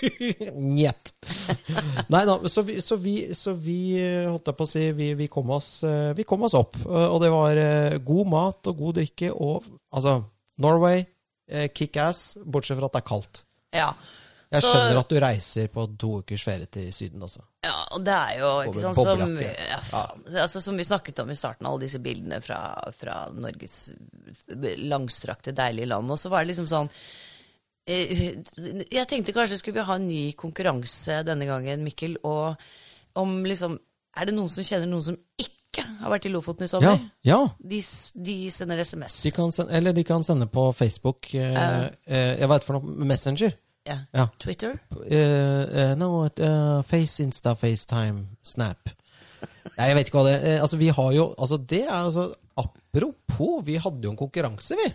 Speaker 1: Njet. Nei da, så vi, så vi, så vi eh, holdt jeg på å si, vi, vi, kom oss, eh, vi kom oss opp. eh, Og det var eh, god mat og god drikke og altså Norway, eh, kickass, bortsett fra at det er kaldt.
Speaker 2: Ja.
Speaker 1: Jeg
Speaker 2: Så-
Speaker 1: skjønner at du reiser på to ukers ferie til Syden, altså.
Speaker 2: Ja, og det er jo ikke
Speaker 1: Over
Speaker 2: sant, som,
Speaker 1: boblejakke.
Speaker 2: ja, faen, altså, som vi snakket om i starten, alle disse bildene fra, fra Norges langstrakte, deilige land. Og så var det liksom sånn eh, Jeg tenkte kanskje skulle vi ha en ny konkurranse denne gangen, Mikkel, og om liksom Er det noen som kjenner noen som ikke har vært i Lofoten i sommer?
Speaker 1: ja.
Speaker 2: De, s- de sender SMS.
Speaker 1: De kan sende, eller de kan sende på Facebook eh, eh, Jeg veit for noe Messenger.
Speaker 2: ja.
Speaker 1: Ja.
Speaker 2: Twitter.
Speaker 1: Eh, eh, no, eh, Face, Insta, FaceTime, Snap. Nei, jeg vet ikke hva det eh, Altså, vi har jo altså, Det er altså Apropos, vi hadde jo en konkurranse, vi.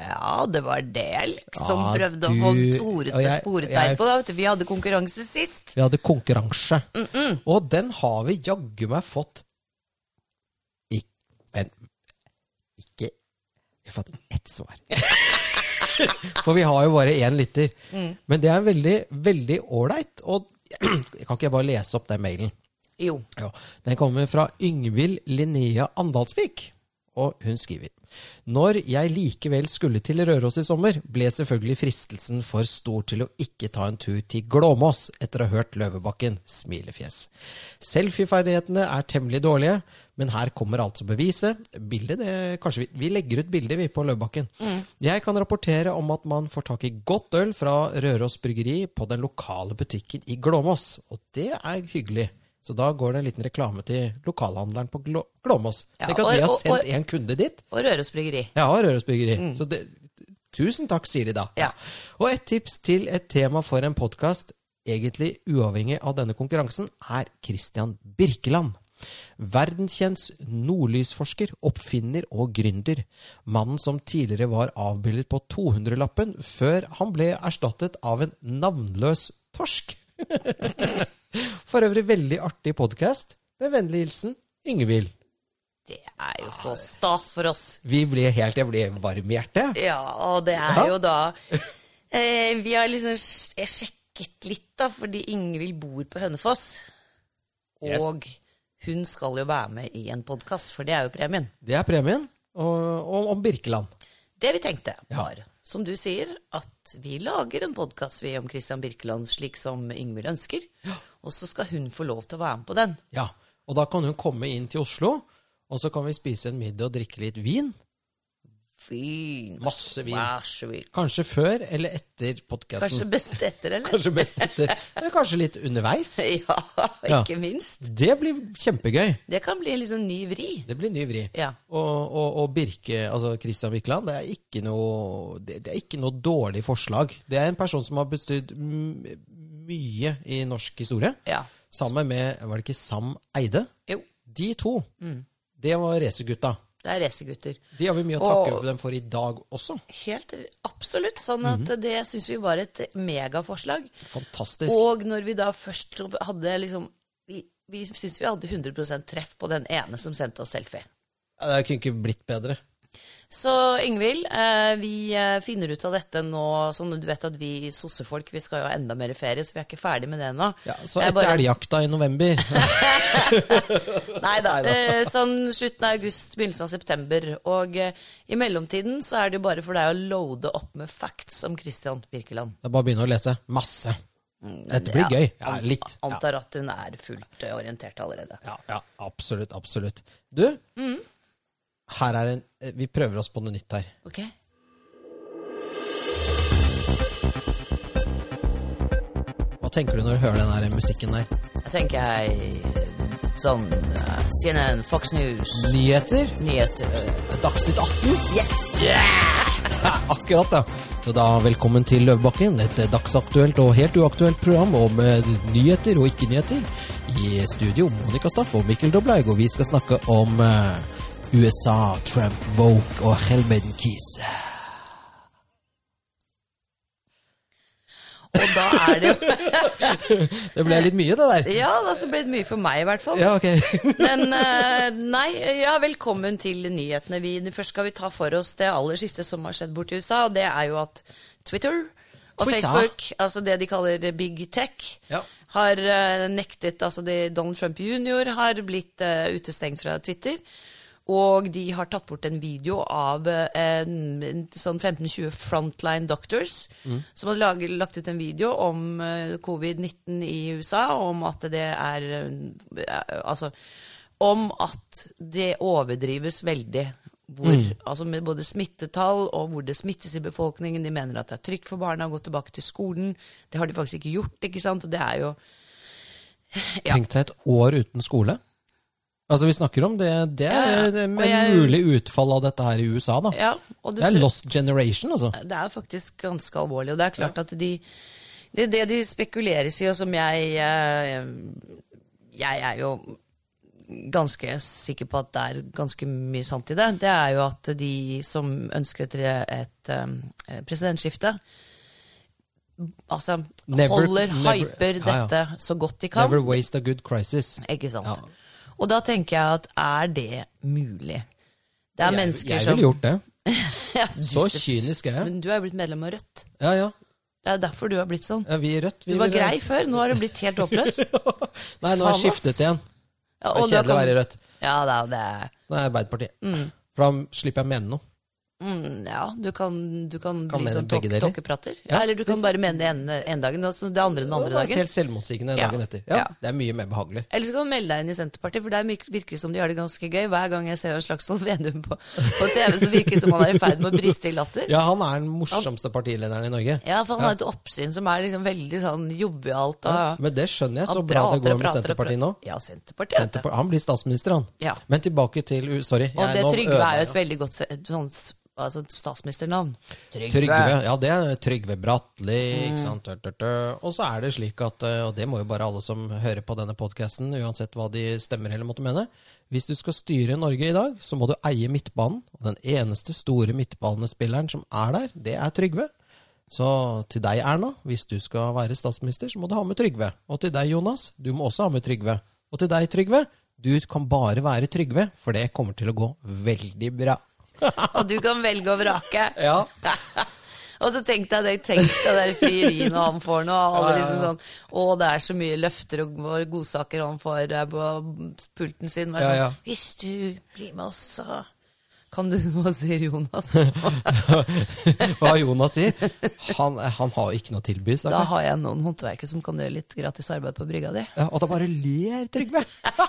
Speaker 2: Ja, det var det jeg liksom
Speaker 1: Ja,
Speaker 2: prøvde
Speaker 1: du-
Speaker 2: å få Tore
Speaker 1: og
Speaker 2: til å
Speaker 1: jeg-
Speaker 2: spore deg
Speaker 1: jeg-
Speaker 2: på. Da. vet du. Vi hadde konkurranse sist.
Speaker 1: Vi hadde konkurranse. Og den har vi jaggu meg fått Ik Men ikke Vi har fått ett svar. For vi har jo bare én lytter. Men det er veldig, veldig ålreit. Og kan ikke jeg bare lese opp den mailen?
Speaker 2: Jo.
Speaker 1: Ja, Den kommer fra Yngvild Linnea Andalsvik, og hun skriver Når jeg likevel skulle til Røros i sommer, ble selvfølgelig fristelsen for stor til å ikke ta en tur til Glåmås etter å ha hørt Løvebakken smilefjes. Selfieferdighetene er temmelig dårlige, men her kommer altså beviset. Bildet, det, kanskje vi, vi legger ut bilder vi på Løvebakken. Jeg kan rapportere om at man får tak i godt øl fra Røros Bryggeri på den lokale butikken i Glåmås, og det er hyggelig. Så da går det en liten reklame til lokalhandleren på Glå Glåmås.
Speaker 2: Ja,
Speaker 1: Tenk at
Speaker 2: og-
Speaker 1: vi har
Speaker 2: og- og-
Speaker 1: sendt en kunde dit.
Speaker 2: Og Røros Bryggeri.
Speaker 1: Ja, og Røros Bryggeri. Så det, tusen takk, sier de da.
Speaker 2: Ja.
Speaker 1: Og et tips til et tema for en podkast, egentlig uavhengig av denne konkurransen, er Christian Birkeland. Verdenskjent nordlysforsker, oppfinner og gründer. Mannen som tidligere var avbildet på 200-lappen, før han ble erstattet av en navnløs torsk. <laughs> For øvrig veldig artig podkast. Med vennlig hilsen Yngvild.
Speaker 2: Det er jo så stas for oss.
Speaker 1: Vi ble helt Jeg ble varm i hjertet.
Speaker 2: Ja, og det er
Speaker 1: Ja.
Speaker 2: jo da eh, Vi har liksom sj- jeg sjekket litt, da, fordi Ingvild bor på Hønefoss.
Speaker 1: Yes.
Speaker 2: Og hun skal jo være med i en podkast, for det er jo premien.
Speaker 1: Det er premien. Og, og om Birkeland.
Speaker 2: Det vi tenkte,
Speaker 1: Ja.
Speaker 2: var, som du sier, at vi lager en podkast om Christian Birkeland slik som Ingvild ønsker. Og så skal hun få lov til å være med på den.
Speaker 1: Ja, og da kan hun komme inn til Oslo, og så kan vi spise en middag og drikke litt vin.
Speaker 2: Fin.
Speaker 1: Masse vin.
Speaker 2: Vær så vill.
Speaker 1: Kanskje før eller etter
Speaker 2: Kanskje
Speaker 1: podkasten.
Speaker 2: best etter, eller?
Speaker 1: Kanskje best etter. Men kanskje litt underveis.
Speaker 2: <laughs> Ja,
Speaker 1: Ja.
Speaker 2: ikke minst.
Speaker 1: Det blir kjempegøy.
Speaker 2: Det kan bli en liksom ny vri.
Speaker 1: Det blir ny vri.
Speaker 2: Ja.
Speaker 1: Og, og, og Birke, altså Christian Wikland, det er ikke noe det, det er ikke noe dårlig forslag. Det er en person som har bestydd m- mye i norsk historie.
Speaker 2: Ja.
Speaker 1: Sammen med, var det ikke Sam Eide?
Speaker 2: Jo.
Speaker 1: De to.
Speaker 2: Mm.
Speaker 1: Det var racergutta.
Speaker 2: Det er racergutter.
Speaker 1: De har vi mye å takke
Speaker 2: Og-
Speaker 1: for dem for i dag også.
Speaker 2: Helt absolutt. Sånn at
Speaker 1: Mhm.
Speaker 2: det syns vi var et megaforslag.
Speaker 1: Fantastisk.
Speaker 2: Og når vi da først hadde liksom Vi, vi syns vi hadde 100 treff på den ene som sendte oss selfie.
Speaker 1: Ja, Det kunne ikke blitt bedre.
Speaker 2: Så Ingvild, eh, vi eh, finner ut av dette nå. Sånn, du vet at vi sossefolk vi skal jo ha enda mer ferie, så vi er ikke ferdig med det ennå.
Speaker 1: Ja, så
Speaker 2: Jeg
Speaker 1: etter elgjakta i november <laughs>
Speaker 2: Nei da. Eh, sånn slutten av august, begynnelsen av september. Og eh, i mellomtiden så er det jo bare for deg å loade opp med facts om Christian Birkeland.
Speaker 1: Det er bare å begynne å lese. Masse.
Speaker 2: Mm,
Speaker 1: Dette blir gøy. Ja,
Speaker 2: an-
Speaker 1: litt. Ja,
Speaker 2: Antar at hun er fullt eh, orientert allerede.
Speaker 1: ja, ja, absolutt. Absolutt. Du,
Speaker 2: Mm.
Speaker 1: her er en eh, Vi prøver oss på noe nytt her.
Speaker 2: Ok?
Speaker 1: Hva tenker du når du hører den her musikken der?
Speaker 2: Da tenker jeg eh, sånn eh, CNN, Fox News,
Speaker 1: Nyheter?
Speaker 2: nyheter.
Speaker 1: Eh, Dagsnytt 18?
Speaker 2: Yes!
Speaker 1: Ja, akkurat, da. Så da velkommen til Løvebakken, et dagsaktuelt og helt uaktuelt program om eh, nyheter og ikke-nyheter. I studio Monica Staff og Mikkel Doblaug, og vi skal snakke om eh, USA, Trump, Woke og Helmeden Kise.
Speaker 2: Og da er det jo <laughs>
Speaker 1: Det ble litt mye, det der.
Speaker 2: Ja, da så ble det altså mye for meg, i hvert fall.
Speaker 1: Ja, ok.
Speaker 2: Men eh, nei, ja, velkommen til nyhetene. Vi, først skal vi ta for oss det aller siste som har skjedd borti USA, og det er jo at Twitter og
Speaker 1: Twitter.
Speaker 2: Facebook, altså det de kaller big tech,
Speaker 1: Ja.
Speaker 2: har eh, nektet Altså det, Donald Trump jr. har blitt eh, utestengt fra Twitter. Og de har tatt bort en video av eh, en, en sånn 15-20 frontline doctors som har lag, lagt ut en video om eh, covid-19 i USA, og om at det er eh, Altså om at det overdrives veldig. Hvor,
Speaker 1: Mm.
Speaker 2: altså med både smittetall og hvor det smittes i befolkningen. De mener at det er trygt for barna å gå tilbake til skolen. Det har de faktisk ikke gjort. ikke sant? Og det er jo <laughs> Ja.
Speaker 1: Tenk deg et år uten skole. Altså, vi snakker om det. Det
Speaker 2: Ja, ja.
Speaker 1: er det er
Speaker 2: Og
Speaker 1: med
Speaker 2: jeg-
Speaker 1: mulig utfall av dette her i USA, da.
Speaker 2: Ja, og du
Speaker 1: Det er
Speaker 2: ser-
Speaker 1: lost generation, altså.
Speaker 2: det er faktisk ganske alvorlig. Og det er klart at de Det er det de spekuleres i, og som jeg eh, Jeg er jo ganske sikker på at det er ganske mye sant i det. Det er jo at de som ønsker et, re- et eh, presidentskifte Altså
Speaker 1: Never-
Speaker 2: holder,
Speaker 1: never-
Speaker 2: hyper
Speaker 1: Ja, ja.
Speaker 2: dette så godt de kan.
Speaker 1: Never waste a good crisis.
Speaker 2: Ikke sant?
Speaker 1: Ja.
Speaker 2: Og da tenker jeg at er det mulig? Det er
Speaker 1: Jeg,
Speaker 2: mennesker
Speaker 1: jeg
Speaker 2: som
Speaker 1: ville gjort det.
Speaker 2: <laughs> Ja, du
Speaker 1: Så
Speaker 2: ser-
Speaker 1: kynisk er jeg.
Speaker 2: Men du er jo blitt medlem av Rødt.
Speaker 1: Ja, ja.
Speaker 2: Det er derfor du har blitt sånn.
Speaker 1: Ja, vi i Rødt vi
Speaker 2: Du var
Speaker 1: ville-
Speaker 2: grei før, nå har du blitt helt
Speaker 1: <laughs>
Speaker 2: håpløs.
Speaker 1: Nei, nå har jeg
Speaker 2: Faen, ass.
Speaker 1: skiftet igjen.
Speaker 2: Ja,
Speaker 1: Det er
Speaker 2: og da
Speaker 1: kjedelig å
Speaker 2: kan-
Speaker 1: være i Rødt.
Speaker 2: Ja, da, det er
Speaker 1: Nå er jeg Arbeiderpartiet. For da slipper jeg å mene noe.
Speaker 2: mm, Ja, du kan, du kan,
Speaker 1: Kan
Speaker 2: bli
Speaker 1: mene
Speaker 2: sånn
Speaker 1: begge
Speaker 2: tok-
Speaker 1: deler.
Speaker 2: tokkeprater. Ja, eller du kan bare mene det ene en dagen, og så det andre den
Speaker 1: Det
Speaker 2: andre
Speaker 1: er bare
Speaker 2: dagen.
Speaker 1: helt selvmotsigende
Speaker 2: Ja.
Speaker 1: dagen etter. Ja,
Speaker 2: Ja.
Speaker 1: Det er mye mer behagelig.
Speaker 2: Eller så kan du melde deg inn i Senterpartiet, for der virker virker det som de har det ganske gøy. Hver gang jeg ser en Slagsvold <laughs> Vedum på, på TV, så virker det som han er i ferd med å briste i latter.
Speaker 1: Ja, han er den morsomste partilederen i Norge.
Speaker 2: Ja, for han har et oppsyn som er liksom veldig sånn jovialt. og-
Speaker 1: Men det skjønner jeg, så
Speaker 2: han
Speaker 1: bra det
Speaker 2: prater
Speaker 1: går
Speaker 2: og
Speaker 1: med
Speaker 2: prater og prater.
Speaker 1: Senterpartiet nå.
Speaker 2: Ja, Senterpartiet. vet du.
Speaker 1: Senterpar- han blir statsminister, han.
Speaker 2: Ja.
Speaker 1: Men tilbake til u- Sorry.
Speaker 2: Og
Speaker 1: jeg-
Speaker 2: det
Speaker 1: nå
Speaker 2: Trygve
Speaker 1: ødela
Speaker 2: er jo
Speaker 1: jeg.
Speaker 2: et veldig godt se- sånn s- altså et statsministernavn.
Speaker 1: Trygve. Mm. Ja, det er Trygve Bratteli. ikke sant? Tør, tør, tør. Og så er det slik at, eh, og det må jo bare alle som hører på denne podkasten, uansett hva de stemmer eller måtte mene, hvis du skal styre Norge i dag, så må du eie midtbanen. Og den eneste store midtbanespilleren som er der, det er Trygve. Så til deg, Erna, hvis du skal være statsminister, så må du ha med Trygve. Og til deg, Jonas, du må også ha med Trygve. Og til deg, Trygve, du kan bare være Trygve, for det kommer til å gå veldig bra.
Speaker 2: Og du kan velge og vrake.
Speaker 1: Ja.
Speaker 2: og så tenk deg det, tenk deg det frieriet han får nå. og Alle liksom sånn, Å, det er så mye løfter og og godsaker han får der på pulten sin. Bare
Speaker 1: Ja,
Speaker 2: sånn,
Speaker 1: ja.
Speaker 2: Hvis du blir med oss, så kan du <laughs> Hva sier Jonas?
Speaker 1: <laughs> Hva Jonas sier. Han, han har ikke noe å tilby. stakkar.
Speaker 2: Da har jeg noen håndverkere som kan gjøre litt gratis arbeid på brygga
Speaker 1: <laughs>
Speaker 2: di.
Speaker 1: Ja, og da bare ler Trygve! <laughs>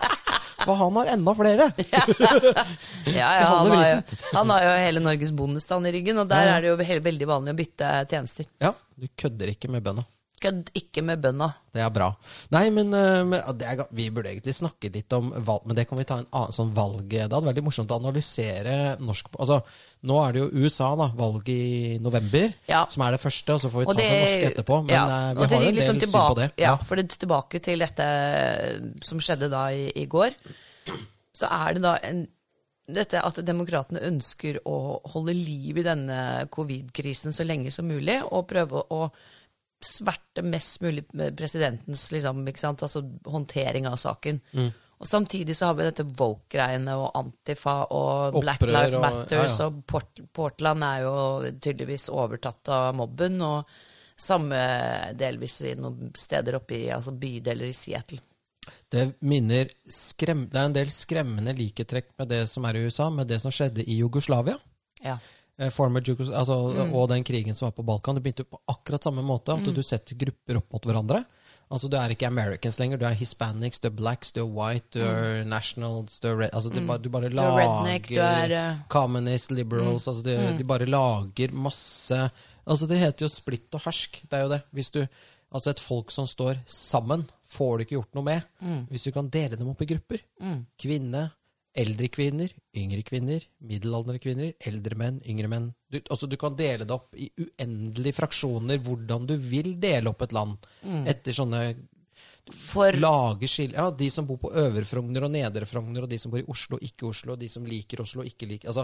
Speaker 1: For han har enda flere!
Speaker 2: Ja, ja,
Speaker 1: Til
Speaker 2: han,
Speaker 1: halve
Speaker 2: har
Speaker 1: prisen.
Speaker 2: jo, <laughs> han har jo hele Norges bondestand i ryggen, og der
Speaker 1: Ja.
Speaker 2: er det jo he- veldig vanlig å bytte tjenester.
Speaker 1: Ja, Du kødder ikke med bønda.
Speaker 2: Kødd ikke med bønda.
Speaker 1: Det er bra. Nei, men eh, men, ja, det er, ga- Vi burde egentlig snakke litt om valg, men det kan vi ta en annen sånn valg Det hadde vært veldig morsomt å analysere norsk Altså, Nå er det jo USA, da. Valg i november,
Speaker 2: Ja.
Speaker 1: som er det første. Og så får vi ta det, norske etterpå. Men
Speaker 2: ja,
Speaker 1: eh,
Speaker 2: og
Speaker 1: vi
Speaker 2: til-
Speaker 1: har jo en del
Speaker 2: liksom
Speaker 1: syn på det.
Speaker 2: tilbake- Ja, for det, tilbake til dette som skjedde da i, i går, så er det da en, dette at demokratene ønsker å holde liv i denne covid-krisen så lenge som mulig, og prøve å sverte mest mulig med presidentens liksom, ikke sant? Altså, håndtering av saken.
Speaker 1: Mm.
Speaker 2: Og Samtidig så har vi dette woke-greiene og Antifa og Black
Speaker 1: Opprør
Speaker 2: Lives
Speaker 1: og-
Speaker 2: Matters.
Speaker 1: ja, ja.
Speaker 2: Og Port Portland er jo tydeligvis overtatt av mobben, og samme delvis i noen steder oppe i altså bydeler i Seattle.
Speaker 1: Det minner skrem, Det er en del skremmende likhetstrekk med det som er i USA, med det som skjedde i Jugoslavia.
Speaker 2: Ja.
Speaker 1: Eh, Former Jugos, altså,
Speaker 2: Mm.
Speaker 1: Og den krigen som var på Balkan. Det begynte jo på akkurat samme måte. At du setter grupper opp mot hverandre. Altså Du er ikke Americans lenger. Du er Hispanics, du er blacks, du er white, du er nationals du er red, altså, du, bare, du bare
Speaker 2: er
Speaker 1: lager
Speaker 2: redneck, Mm. du er, eh,
Speaker 1: Communists, liberals altså, de, de bare lager masse Altså Det heter jo splitt og hersk. Det er jo det. Hvis du, altså Et folk som står sammen, får du ikke gjort noe med. Hvis du kan dele dem opp i grupper. Kvinne, eldre kvinner, yngre kvinner, middelaldrende kvinner, eldre menn, yngre menn. Du, altså du kan dele det opp i uendelige fraksjoner, hvordan du vil dele opp et land. Etter sånne
Speaker 2: For
Speaker 1: lage skille Ja, de som bor på Øvre Frogner og Nedre Frogner, og de som bor i Oslo og ikke Oslo, og de som liker Oslo og ikke liker Altså,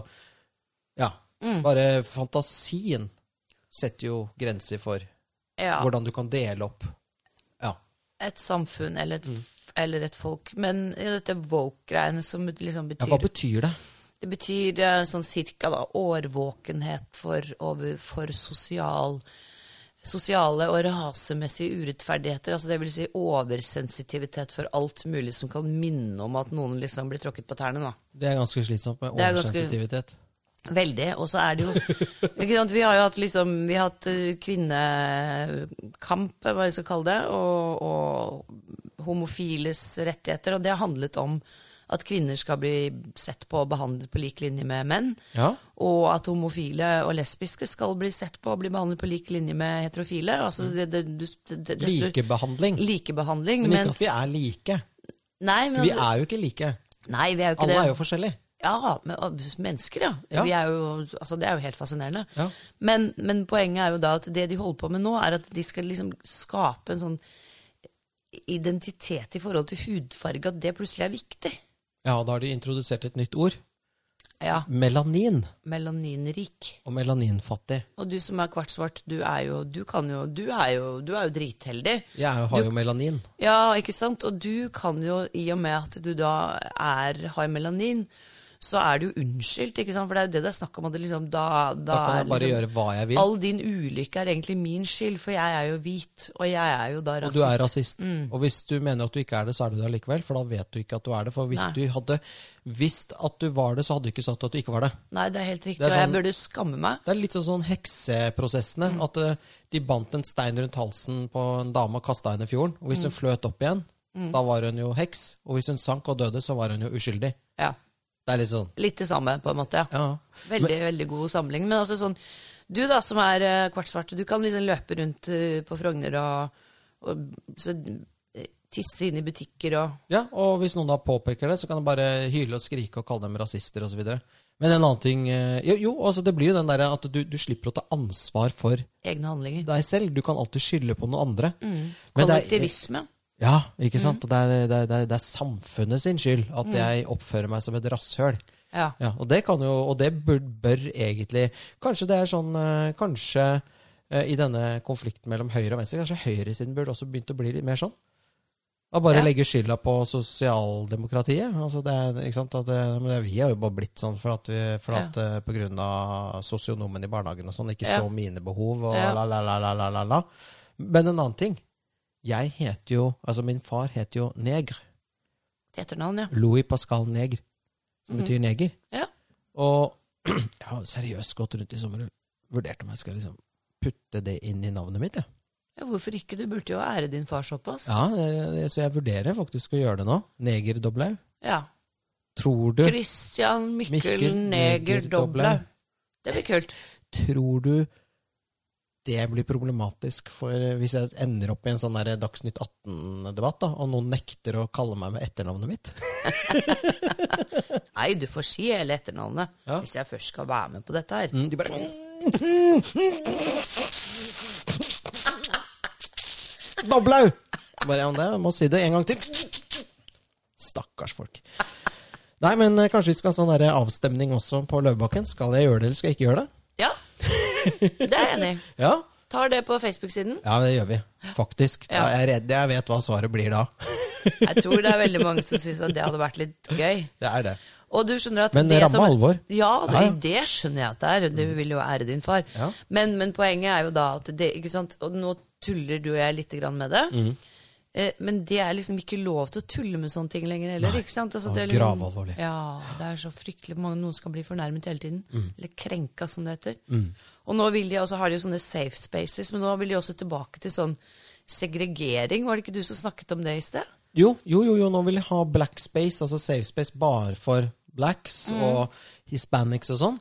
Speaker 1: ja.
Speaker 2: Mm.
Speaker 1: Bare fantasien setter jo grenser for
Speaker 2: ja,
Speaker 1: hvordan du kan dele opp Ja.
Speaker 2: et samfunn eller et,
Speaker 1: Mm.
Speaker 2: f- eller et folk. Men i dette woke-greiene som liksom
Speaker 1: ja hva
Speaker 2: betyr
Speaker 1: betyr det?
Speaker 2: Det betyr eh, sånn cirka da, årvåkenhet for, over, for sosial, sosiale og rasemessige urettferdigheter. Altså det vil si oversensitivitet for alt mulig som kan minne om at noen liksom blir tråkket på tærne. da.
Speaker 1: Det er ganske slitsomt med
Speaker 2: Det er ganske-
Speaker 1: oversensitivitet.
Speaker 2: Veldig. Og så er det jo ikke sant? Vi har jo hatt, liksom, vi har hatt eh, kvinnekamp, hva vi skal kalle det, og, og homofiles rettigheter. Og det har handlet om at kvinner skal bli sett på og behandlet på lik linje med menn.
Speaker 1: Ja.
Speaker 2: Og at homofile og lesbiske skal bli sett på og bli behandlet på lik linje med heterofile. Altså, det, det, du, det, det, desto-
Speaker 1: Mm. Likebehandling.
Speaker 2: Likebehandling.
Speaker 1: Men ikke at
Speaker 2: mens,
Speaker 1: vi er like.
Speaker 2: nei, men
Speaker 1: Vi
Speaker 2: altså,
Speaker 1: er jo ikke like.
Speaker 2: nei, vi er jo ikke
Speaker 1: Alle
Speaker 2: det.
Speaker 1: er jo forskjellige.
Speaker 2: Ja, men, og mennesker, ja.
Speaker 1: Ja.
Speaker 2: Vi er jo, altså, det er jo helt fascinerende.
Speaker 1: Ja.
Speaker 2: Men, men poenget er jo da at det de holder på med nå, er at de skal liksom skape en sånn identitet i forhold til hudfarge, at det plutselig er viktig.
Speaker 1: Ja, da har de introdusert et nytt ord.
Speaker 2: Ja,
Speaker 1: Melanin
Speaker 2: melaninrik.
Speaker 1: og melaninfattig.
Speaker 2: Og du som er kvartsvart, du er jo, du kan jo, du er jo, du er jo dritheldig.
Speaker 1: Jeg er jo- har jo melanin.
Speaker 2: Ja, ikke sant? Og du kan jo, i og med at du da er, har melanin, så er du jo unnskyldt, ikke sant? For det er jo det det er snakk om, at det liksom, da, da,
Speaker 1: Da kan
Speaker 2: er
Speaker 1: jeg bare
Speaker 2: liksom,
Speaker 1: gjøre hva jeg vil.
Speaker 2: All din ulykke er egentlig min skyld, for jeg er jo hvit, og jeg er jo da
Speaker 1: Og
Speaker 2: rasist.
Speaker 1: du er rasist. Og hvis du mener at du ikke er det, så er du det allikevel. For da vet du ikke at du er det. For hvis
Speaker 2: Nei.
Speaker 1: du hadde visst at du var det, så hadde du ikke sagt at du ikke var det.
Speaker 2: Nei, det er helt riktig,
Speaker 1: Det er
Speaker 2: og jeg
Speaker 1: sånn-
Speaker 2: burde skamme meg.
Speaker 1: Det er litt sånn, sånn hekseprosessene. At eh, de bandt en stein rundt halsen på en dame og kasta henne i fjorden. Og hvis hun fløt opp igjen, da var hun jo heks. Og hvis hun sank og døde, så var hun jo uskyldig.
Speaker 2: Ja,
Speaker 1: Det er litt sånn.
Speaker 2: litt det samme, på en måte, ja.
Speaker 1: Ja.
Speaker 2: Veldig, veldig god sammenligning. Men altså sånn, du da som er eh, kvartsvart, du kan liksom løpe rundt eh, på Frogner og, og så, eh, tisse inn i butikker og
Speaker 1: ja, Og hvis noen da påpeker det, så kan de bare hyle og skrike og kalle dem rasister osv. Men en annen ting eh, Jo, jo altså det blir jo den derre at du, du slipper å ta ansvar for
Speaker 2: Egne handlinger.
Speaker 1: deg selv. Du kan alltid skylde på noen andre. Men det er-
Speaker 2: Kollektivisme.
Speaker 1: Ja, ikke sant? Og Det, er, det, er, det, er, det er samfunnet sin skyld at jeg oppfører meg som et rasshøl.
Speaker 2: Ja.
Speaker 1: Ja, og det kan jo, og det bør, bør egentlig Kanskje det er sånn eh, Kanskje eh, i denne konflikten mellom høyre og venstre, kanskje høyresiden burde også begynt å bli litt mer sånn? Og bare
Speaker 2: Ja.
Speaker 1: legge skylda på sosialdemokratiet. Altså det, er- ikke sant? At det, men det, vi har jo bare blitt sånn for at, vi, for
Speaker 2: Ja.
Speaker 1: at eh, på grunn av sosionomen i barnehagen og sånn, ikke
Speaker 2: Ja.
Speaker 1: så mine behov og
Speaker 2: Ja.
Speaker 1: la, la, la, la, la, la, la. Men en annen ting. Jeg heter jo, altså min far heter jo Negr.
Speaker 2: Til etternavn, ja.
Speaker 1: Louis Pascal Negr, som betyr neger.
Speaker 2: Ja.
Speaker 1: Og <clears throat> jeg har seriøst gått rundt i sommer og vurdert om jeg skal liksom putte det inn i navnet mitt. jeg.
Speaker 2: ja. Hvorfor ikke? Du burde jo ære din far såpass.
Speaker 1: Ja, eh, Så jeg vurderer faktisk å gjøre det nå. Neger Doblaug.
Speaker 2: Ja.
Speaker 1: Tror du
Speaker 2: Christian Mikkel,
Speaker 1: Mikkel
Speaker 2: Neger
Speaker 1: Neger Doblaug.
Speaker 2: Doblaug. Det blir kult.
Speaker 1: Tror du det blir problematisk for eh, hvis jeg ender opp i en sånn der Dagsnytt 18-debatt, da, og noen nekter å kalle meg med etternavnet mitt?
Speaker 2: Nei, du får si hele etternavnet
Speaker 1: Ja.
Speaker 2: hvis jeg først skal være med på dette her.
Speaker 1: Mm, De bare Doblaug! Bare om det, jeg må si det en gang til. Stakkars folk. Nei, men eh, kanskje vi skal ha sånn der avstemning også på Løvebakken. Skal jeg gjøre det, eller skal jeg ikke gjøre det?
Speaker 2: Ja, det er jeg enig i.
Speaker 1: Ja,
Speaker 2: Tar det på Facebook-siden.
Speaker 1: ja det gjør vi. Faktisk.
Speaker 2: Ja.
Speaker 1: Jeg er redd jeg vet hva svaret blir da.
Speaker 2: Jeg tror det er veldig mange som syns at det hadde vært litt gøy.
Speaker 1: Det er det.
Speaker 2: Og du skjønner at
Speaker 1: Men
Speaker 2: det
Speaker 1: ramme
Speaker 2: som,
Speaker 1: alvor.
Speaker 2: Ja, det,
Speaker 1: Ja, ja.
Speaker 2: det skjønner jeg at det er. Du vil jo ære din far.
Speaker 1: Ja.
Speaker 2: Men, men poenget er jo da at det ikke sant? Og nå tuller du og jeg litt grann med det.
Speaker 1: Mm.
Speaker 2: Eh, Men det er liksom ikke lov til å tulle med sånne ting lenger heller. ikke sant? Altså,
Speaker 1: og
Speaker 2: det er liksom,
Speaker 1: gravalvorlig.
Speaker 2: Ja, det er så fryktelig mange noen skal bli fornærmet hele tiden.
Speaker 1: Mm.
Speaker 2: Eller krenka, som det heter. Og nå vil de, og så har de jo sånne safe spaces, men nå vil de også tilbake til sånn segregering. Var det ikke du som snakket om det i sted?
Speaker 1: Jo, jo, jo, jo nå vil jeg ha black space, altså safe space bare for blacks og hispanics og sånn.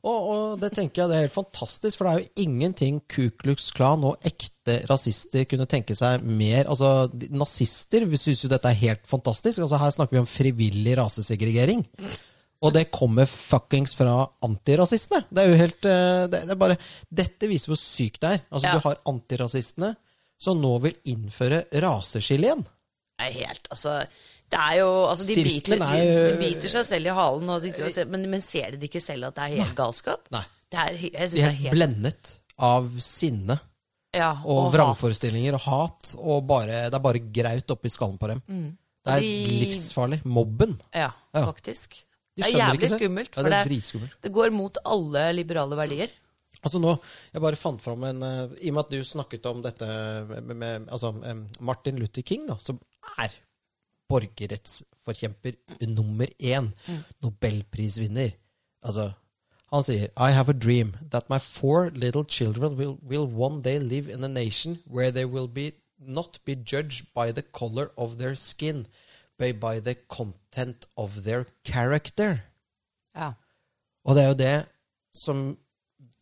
Speaker 1: Og, og det tenker jeg det er helt fantastisk, for det er jo ingenting Ku Klux Klan og ekte rasister kunne tenke seg mer Altså, de- nazister vi syns jo dette er helt fantastisk. Altså, her snakker vi om frivillig rasesegregering. Og det kommer fuckings fra antirasistene. Det er jo helt eh, det, det er bare, Dette viser hvor sykt det er. Altså,
Speaker 2: Ja.
Speaker 1: Du har antirasistene som nå vil innføre raseskille igjen.
Speaker 2: Nei, helt, altså det er jo, altså De biter,
Speaker 1: Sirkelen er
Speaker 2: de,
Speaker 1: jo-
Speaker 2: de biter seg selv i halen, og de, og ser- men, men ser de ikke selv at det er helt galskap?
Speaker 1: Nei.
Speaker 2: Det er, he- jeg synes
Speaker 1: De
Speaker 2: det
Speaker 1: er
Speaker 2: er
Speaker 1: helt
Speaker 2: helt
Speaker 1: blendet av sinne
Speaker 2: ja,
Speaker 1: og,
Speaker 2: hat.
Speaker 1: vrangforestillinger og hat. Og bare, det er bare graut oppi skallen på dem.
Speaker 2: Mm.
Speaker 1: Det er
Speaker 2: de-
Speaker 1: livsfarlig. Mobben.
Speaker 2: Ja,
Speaker 1: Ja.
Speaker 2: faktisk.
Speaker 1: De
Speaker 2: det er
Speaker 1: skjønner ikke
Speaker 2: jævlig
Speaker 1: selv.
Speaker 2: skummelt.
Speaker 1: Ja,
Speaker 2: For
Speaker 1: det er
Speaker 2: det,
Speaker 1: dritskummelt.
Speaker 2: det går mot alle liberale verdier.
Speaker 1: Altså nå, jeg bare fant fram en eh, I og med at du snakket om dette med, med, med altså, em, Martin Luther King, da, som er borgerrettsforkjemper nummer én. Nobelprisvinner. Altså, han sier I have a dream that my four little children will, will one day live in a nation where they will be not be judged by the color of their skin, but by the content of their character.
Speaker 2: Ja.
Speaker 1: Og det er jo det som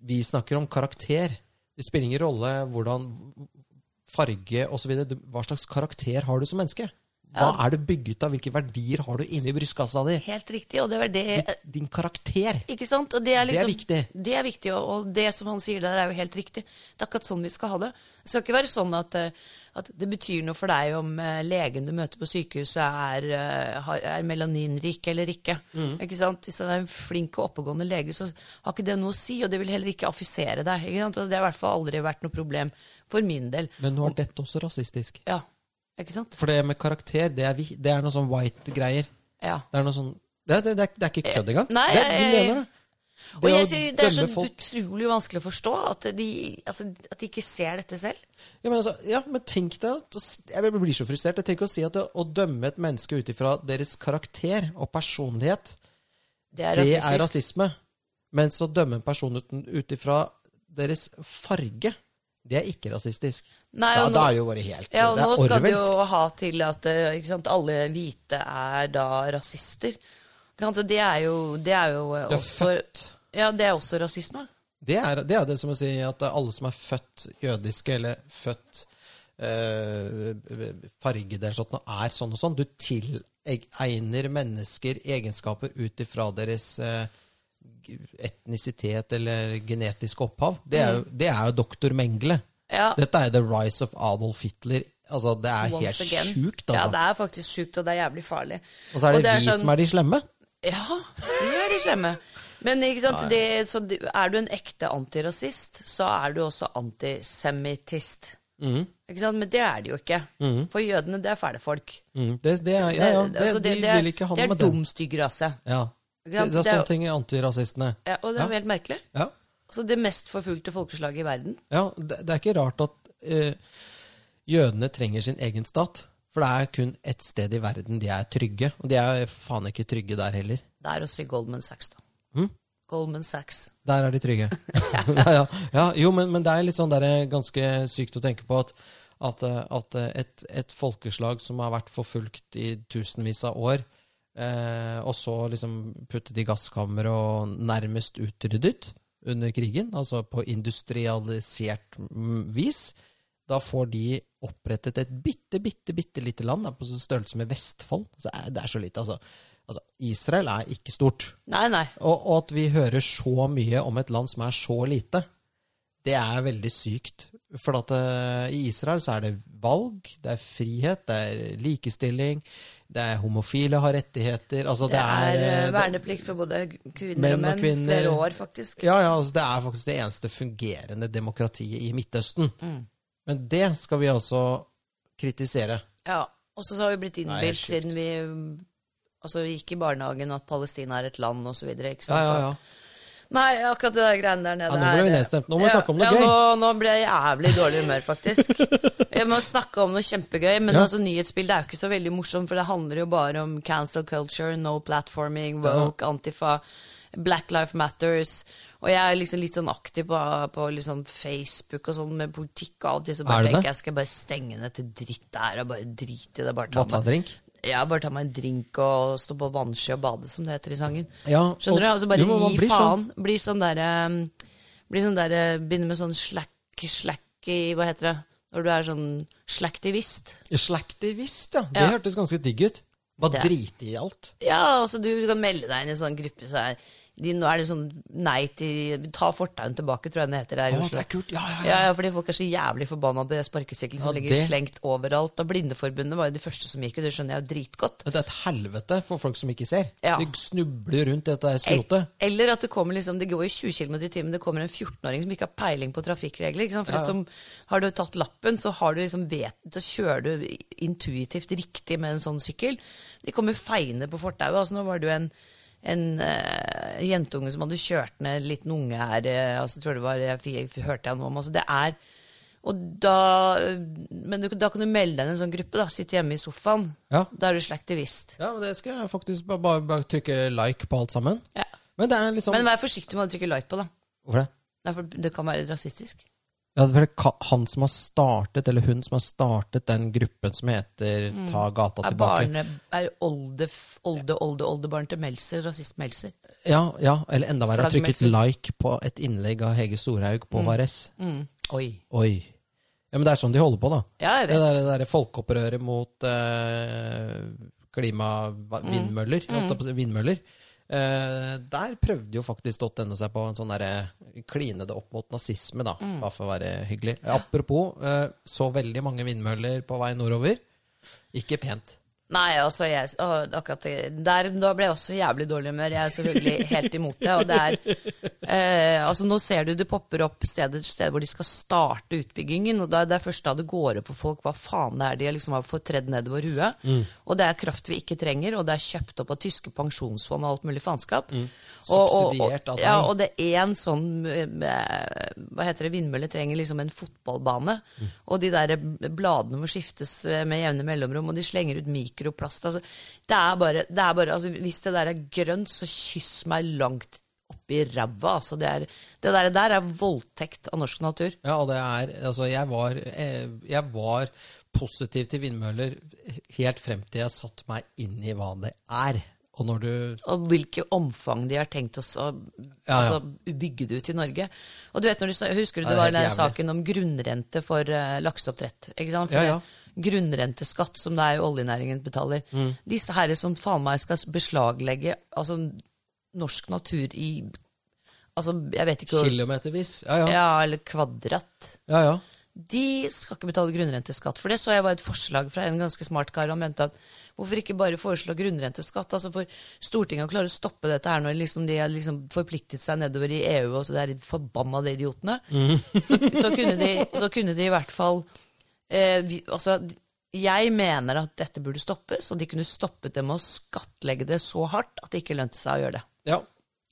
Speaker 1: vi snakker om, karakter. Det spiller ingen rolle hvordan farge osv. Hva slags karakter har du som menneske? Hva er du bygget av? Hvilke verdier har du inni brystkassa di?
Speaker 2: Helt riktig, og det var det
Speaker 1: Ditt- Din karakter.
Speaker 2: Ikke sant? Og det
Speaker 1: Det
Speaker 2: er,
Speaker 1: er
Speaker 2: liksom,
Speaker 1: viktig.
Speaker 2: Det er viktig, og, og det som han sier der, er jo helt riktig. Det er akkurat sånn vi skal ha det. Det skal ikke være sånn at, eh, at det betyr noe for deg om eh, legen du møter på sykehuset, er, eh, har- er melaninrik eller ikke.
Speaker 1: Mm.
Speaker 2: ikke sant? Hvis han er en flink og oppegående lege, så har ikke det noe å si, og det vil heller ikke affisere deg. Ikke sant? Altså, det har i hvert fall aldri vært noe problem for min del.
Speaker 1: Men nå er dette også rasistisk.
Speaker 2: Ja, ikke sant?
Speaker 1: For det med karakter, det er, vi, det er noe sånn white-greier.
Speaker 2: Ja.
Speaker 1: Det er noe sånn det er, det, er, det er ikke kødd engang.
Speaker 2: Eh, Nei,
Speaker 1: det, er- de
Speaker 2: jeg-
Speaker 1: mener det.
Speaker 2: Og
Speaker 1: Det
Speaker 2: jeg,
Speaker 1: å
Speaker 2: sier det er sånn så
Speaker 1: dømme folk-
Speaker 2: utrolig vanskelig å forstå at de, altså, at de ikke ser dette selv.
Speaker 1: Ja, men, altså, ja, men tenk deg at- altså, Jeg blir så frustrert. Jeg tenker å si at å, å dømme et menneske ut ifra deres karakter og personlighet
Speaker 2: Det er
Speaker 1: Det
Speaker 2: rasistisk.
Speaker 1: er rasisme. Men så dømme en person uten- ut ifra deres farge, det er ikke rasistisk.
Speaker 2: Nei,
Speaker 1: da,
Speaker 2: og nå-
Speaker 1: da er det jo bare helt
Speaker 2: Ja, og
Speaker 1: Det
Speaker 2: nå
Speaker 1: er
Speaker 2: skal det jo
Speaker 1: orwellsk.
Speaker 2: ha til at eh, ikke sant, alle hvite er da rasister. Ikke sant, så det er jo, det er jo eh,
Speaker 1: Du er
Speaker 2: også
Speaker 1: født.
Speaker 2: Ja, det er også rasisme.
Speaker 1: Det er, det er det som å si at alle som er født jødiske eller født eh, fargede eller sånt, nå er sånn og sånn. Du tilegner mennesker egenskaper ut ifra deres eh, etnisitet eller genetisk opphav, det er jo, det er jo doktor Mengele.
Speaker 2: Mm. Ja.
Speaker 1: Dette er The Rise of Adolf Hitler. Altså, det er
Speaker 2: Once
Speaker 1: helt
Speaker 2: again.
Speaker 1: sjukt,
Speaker 2: Ja,
Speaker 1: altså.
Speaker 2: det er faktisk sjukt, og det er jævlig farlig.
Speaker 1: og så er det, vi som er de slemme.
Speaker 2: sånn- Ja, vi er de slemme. Men ikke sant, det, så det- er du en ekte antirasist, så er du også antisemittist.
Speaker 1: Mhm.
Speaker 2: Ikke sant? Men det er de jo ikke. For jødene, det er fæle folk.
Speaker 1: Mm, det, det er, Mhm. ja, ja, det,
Speaker 2: Altså,
Speaker 1: de
Speaker 2: er-
Speaker 1: vil ikke
Speaker 2: det
Speaker 1: handle
Speaker 2: er
Speaker 1: med dem.
Speaker 2: dum, stygg rase.
Speaker 1: Ja.
Speaker 2: Ikke
Speaker 1: Det, det
Speaker 2: sant?
Speaker 1: er
Speaker 2: Det er jo-
Speaker 1: sånne ting antirasistene.
Speaker 2: Ja, og det er jo
Speaker 1: Ja.
Speaker 2: helt merkelig.
Speaker 1: Ja.
Speaker 2: Altså, det mest forfulgte folkeslaget i verden.
Speaker 1: ja det, det er ikke rart at eh, jødene trenger sin egen stat. For det er kun ett sted i verden de er trygge. Og de er faen ikke trygge der heller.
Speaker 2: Det er også i Goldman Sachs, da.
Speaker 1: Hm?
Speaker 2: Goldman Sachs.
Speaker 1: Der er de trygge. ja, ja. ja, jo, men, men det er litt sånn der, eh, ganske sykt å tenke på at, at, eh, at eh, et, et folkeslag som har vært forfulgt i tusenvis av år, eh, og så liksom puttet i gasskammer og nærmest utryddet under krigen, altså på industrialisert mm, vis, da får de opprettet et bitte, bitte, bitte lite land, da, på størrelse med Vestfold. Så er- det er så lite, altså. altså Israel er ikke stort.
Speaker 2: Nei, nei.
Speaker 1: Og, og at vi hører så mye om et land som er så lite, det er veldig sykt. For at eh, i Israel så er det valg, det er frihet, det er likestilling, det er homofile har rettigheter altså
Speaker 2: Det er,
Speaker 1: eh,
Speaker 2: eh,
Speaker 1: det-
Speaker 2: verneplikt for både kvinner
Speaker 1: Menn
Speaker 2: og
Speaker 1: og
Speaker 2: menn.
Speaker 1: kvinner.
Speaker 2: Flere år, faktisk.
Speaker 1: Ja, ja, altså det er faktisk det eneste fungerende demokratiet i Midtøsten. Men det skal vi altså kritisere.
Speaker 2: Ja, og så har vi blitt
Speaker 1: Nei, helt
Speaker 2: innbilt
Speaker 1: sjukt.
Speaker 2: siden vi altså, vi gikk i barnehagen at Palestina er et land og så videre,
Speaker 1: Ja,
Speaker 2: ikke sant?
Speaker 1: ja, ja.
Speaker 2: Nei, akkurat det der greiene der nede
Speaker 1: Ja, nå ble vi
Speaker 2: er-
Speaker 1: nedstemt. Nå må vi
Speaker 2: Ja,
Speaker 1: snakke om noe
Speaker 2: ja,
Speaker 1: gøy.
Speaker 2: Nå, nå ble jeg i jævlig dårlig humør,
Speaker 1: <laughs>
Speaker 2: faktisk. Jeg må snakke om noe kjempegøy, men
Speaker 1: Ja.
Speaker 2: altså, nyhetsbildet er jo ikke så veldig morsomt, for det handler jo bare om cancel culture, no platforming, woke, antifa, black life matters. Og jeg er liksom litt sånn aktiv på, på liksom Facebook og sånn med politikk, og av og til så
Speaker 1: Er
Speaker 2: bare
Speaker 1: du det?
Speaker 2: tenker jeg skal bare stenge dette dritt der, og bare drite i det. Bare ta
Speaker 1: Hva, ta
Speaker 2: meg-
Speaker 1: drink?
Speaker 2: Ja, bare ta meg en drink og stå på vannski og bade, som det heter i sangen.
Speaker 1: Ja,
Speaker 2: Skjønner du?
Speaker 1: og-
Speaker 2: Altså bare
Speaker 1: jo, men man
Speaker 2: gi
Speaker 1: blir
Speaker 2: faen. Bli sånn derre Bli sånn derre Begynne med sånn slack, slack i Hva heter det? Når du er sånn slacktivist.
Speaker 1: Slaktivist, ja. Det
Speaker 2: Ja.
Speaker 1: hørtes ganske digg ut. Bare
Speaker 2: Det-
Speaker 1: drite i alt.
Speaker 2: Ja, altså du kan melde deg inn i en sånn gruppe så er de, Nå er det sånn nei til Ta fortauen tilbake, tror jeg den heter der
Speaker 1: Å,
Speaker 2: i
Speaker 1: det
Speaker 2: Oslo.
Speaker 1: er kult. Ja, ja, ja.
Speaker 2: Ja, ja, fordi folk er så jævlig forbanna på de sparkesyklene som
Speaker 1: Ja,
Speaker 2: ligger
Speaker 1: det-
Speaker 2: slengt overalt. Og Blindeforbundet var jo de første som gikk, og det skjønner jeg jo dritgodt.
Speaker 1: Men Det er et helvete for folk som ikke ser.
Speaker 2: Ja.
Speaker 1: De snubler rundt i dette
Speaker 2: El-
Speaker 1: skrotet.
Speaker 2: Eh, Eller at det kommer liksom, det går i 20 km i timen, det kommer en 14-åring som ikke har peiling på trafikkregler. Ikke sant? For at som, har du tatt lappen, så har du liksom vet, da kjører du intuitivt riktig med en sånn sykkel. De kommer feiende på fortauet. Altså, nå var det jo en, en eh, jentunge som hadde kjørt ned en liten unge her, eh, altså, tror jeg det var, jeg, fikk- jeg, fikk- hørte jeg noe om. Altså, det er... Og da, men du, da kan du melde deg inn i en sånn gruppe, da. Sitte hjemme i sofaen.
Speaker 1: Ja.
Speaker 2: Da er du slektivist.
Speaker 1: Ja, men det skal jeg faktisk bare, bare, bare trykke like på alt sammen.
Speaker 2: Ja.
Speaker 1: Men det er liksom
Speaker 2: Men vær forsiktig med å trykke like på, da.
Speaker 1: Hvorfor det?
Speaker 2: Nei, for det kan være rasistisk.
Speaker 1: Ja, det er vel ka- han som har startet, eller hun som har startet den gruppen som heter Ta gata
Speaker 2: Mm. Er
Speaker 1: tilbake.
Speaker 2: barne, er olde, f- olde, olde, oldebarn til Melser rasist-Melser?
Speaker 1: Ja, ja, eller enda verre, har trykket
Speaker 2: Flaggmekser.
Speaker 1: like på et innlegg av Hege Storhaug
Speaker 2: Mm.
Speaker 1: på HRS.
Speaker 2: Oi.
Speaker 1: Oi. Ja, men det er sånn de holder på, da.
Speaker 2: Ja, jeg
Speaker 1: Det
Speaker 2: vet.
Speaker 1: der, det der folkeopprøret mot eh,
Speaker 2: Mm.
Speaker 1: klimavindmøller. holdt jeg på å si, Vindmøller. Eh, der prøvde jo faktisk .no seg på en sånn derre kline det opp mot nazisme, da.
Speaker 2: Mm.
Speaker 1: Bare for å være hyggelig. Apropos, eh, så veldig mange vindmøller på vei nordover. Ikke pent.
Speaker 2: Nei, altså, jeg, å, akkurat det- der, da ble jeg også jævlig dårlig humør. Jeg er selvfølgelig helt imot det. Og det er, eh, altså, nå ser du det popper opp steder, steder hvor de skal starte utbyggingen. Og da, det er først da det går opp på folk hva faen det er de liksom har fått tredd nedover huet.
Speaker 1: Mm.
Speaker 2: Og det er kraft vi ikke trenger, og det er kjøpt opp av tyske pensjonsfond og alt mulig faenskap.
Speaker 1: Mm. Subsidiert av deg.
Speaker 2: Ja, og det er en sånn eh, Hva heter det, vindmølle trenger liksom en fotballbane. Og de der bladene må skiftes eh, med jevne mellomrom, og de slenger ut mikroplast. Altså, det er bare, det er bare altså, Hvis det der er grønt, så kyss meg langt oppi ræva. Altså, det, er, det der, der er voldtekt av norsk natur.
Speaker 1: Ja, og det er Altså, jeg var, eh, jeg var positiv til vindmøller helt frem til jeg satte meg inn i hva det er. Og når du
Speaker 2: og hvilke omfang de har tenkt oss å
Speaker 1: Ja, ja.
Speaker 2: Altså, bygge det ut i Norge. Og du vet når du, snak- Husker du
Speaker 1: Ja,
Speaker 2: det
Speaker 1: det er
Speaker 2: var den der
Speaker 1: helt jævlig.
Speaker 2: saken om grunnrente for eh, lakseoppdrett? ikke sant? For
Speaker 1: Ja, ja. Mm.
Speaker 2: det- Grunnrenteskatt, som det er jo oljenæringen betaler. Disse herre som faen meg skal beslaglegge altså, norsk natur i Altså, jeg vet ikke hvor-
Speaker 1: Kilometervis. Ja, ja.
Speaker 2: Ja, eller kvadrat.
Speaker 1: ja, ja.
Speaker 2: De skal ikke betale grunnrenteskatt. For det så jeg bare et forslag fra en ganske smart kar. Han mente at hvorfor ikke bare foreslå grunnrenteskatt? Altså for Stortinget å klare å stoppe dette her når liksom de har liksom forpliktet seg nedover i EU, og så det er de forbanna de idiotene. Så, så, kunne de, så kunne de i hvert fall eh, vi, Altså, jeg mener at dette burde stoppes, og de kunne stoppet det med å skattlegge det så hardt at det ikke lønte seg å gjøre det.
Speaker 1: Ja,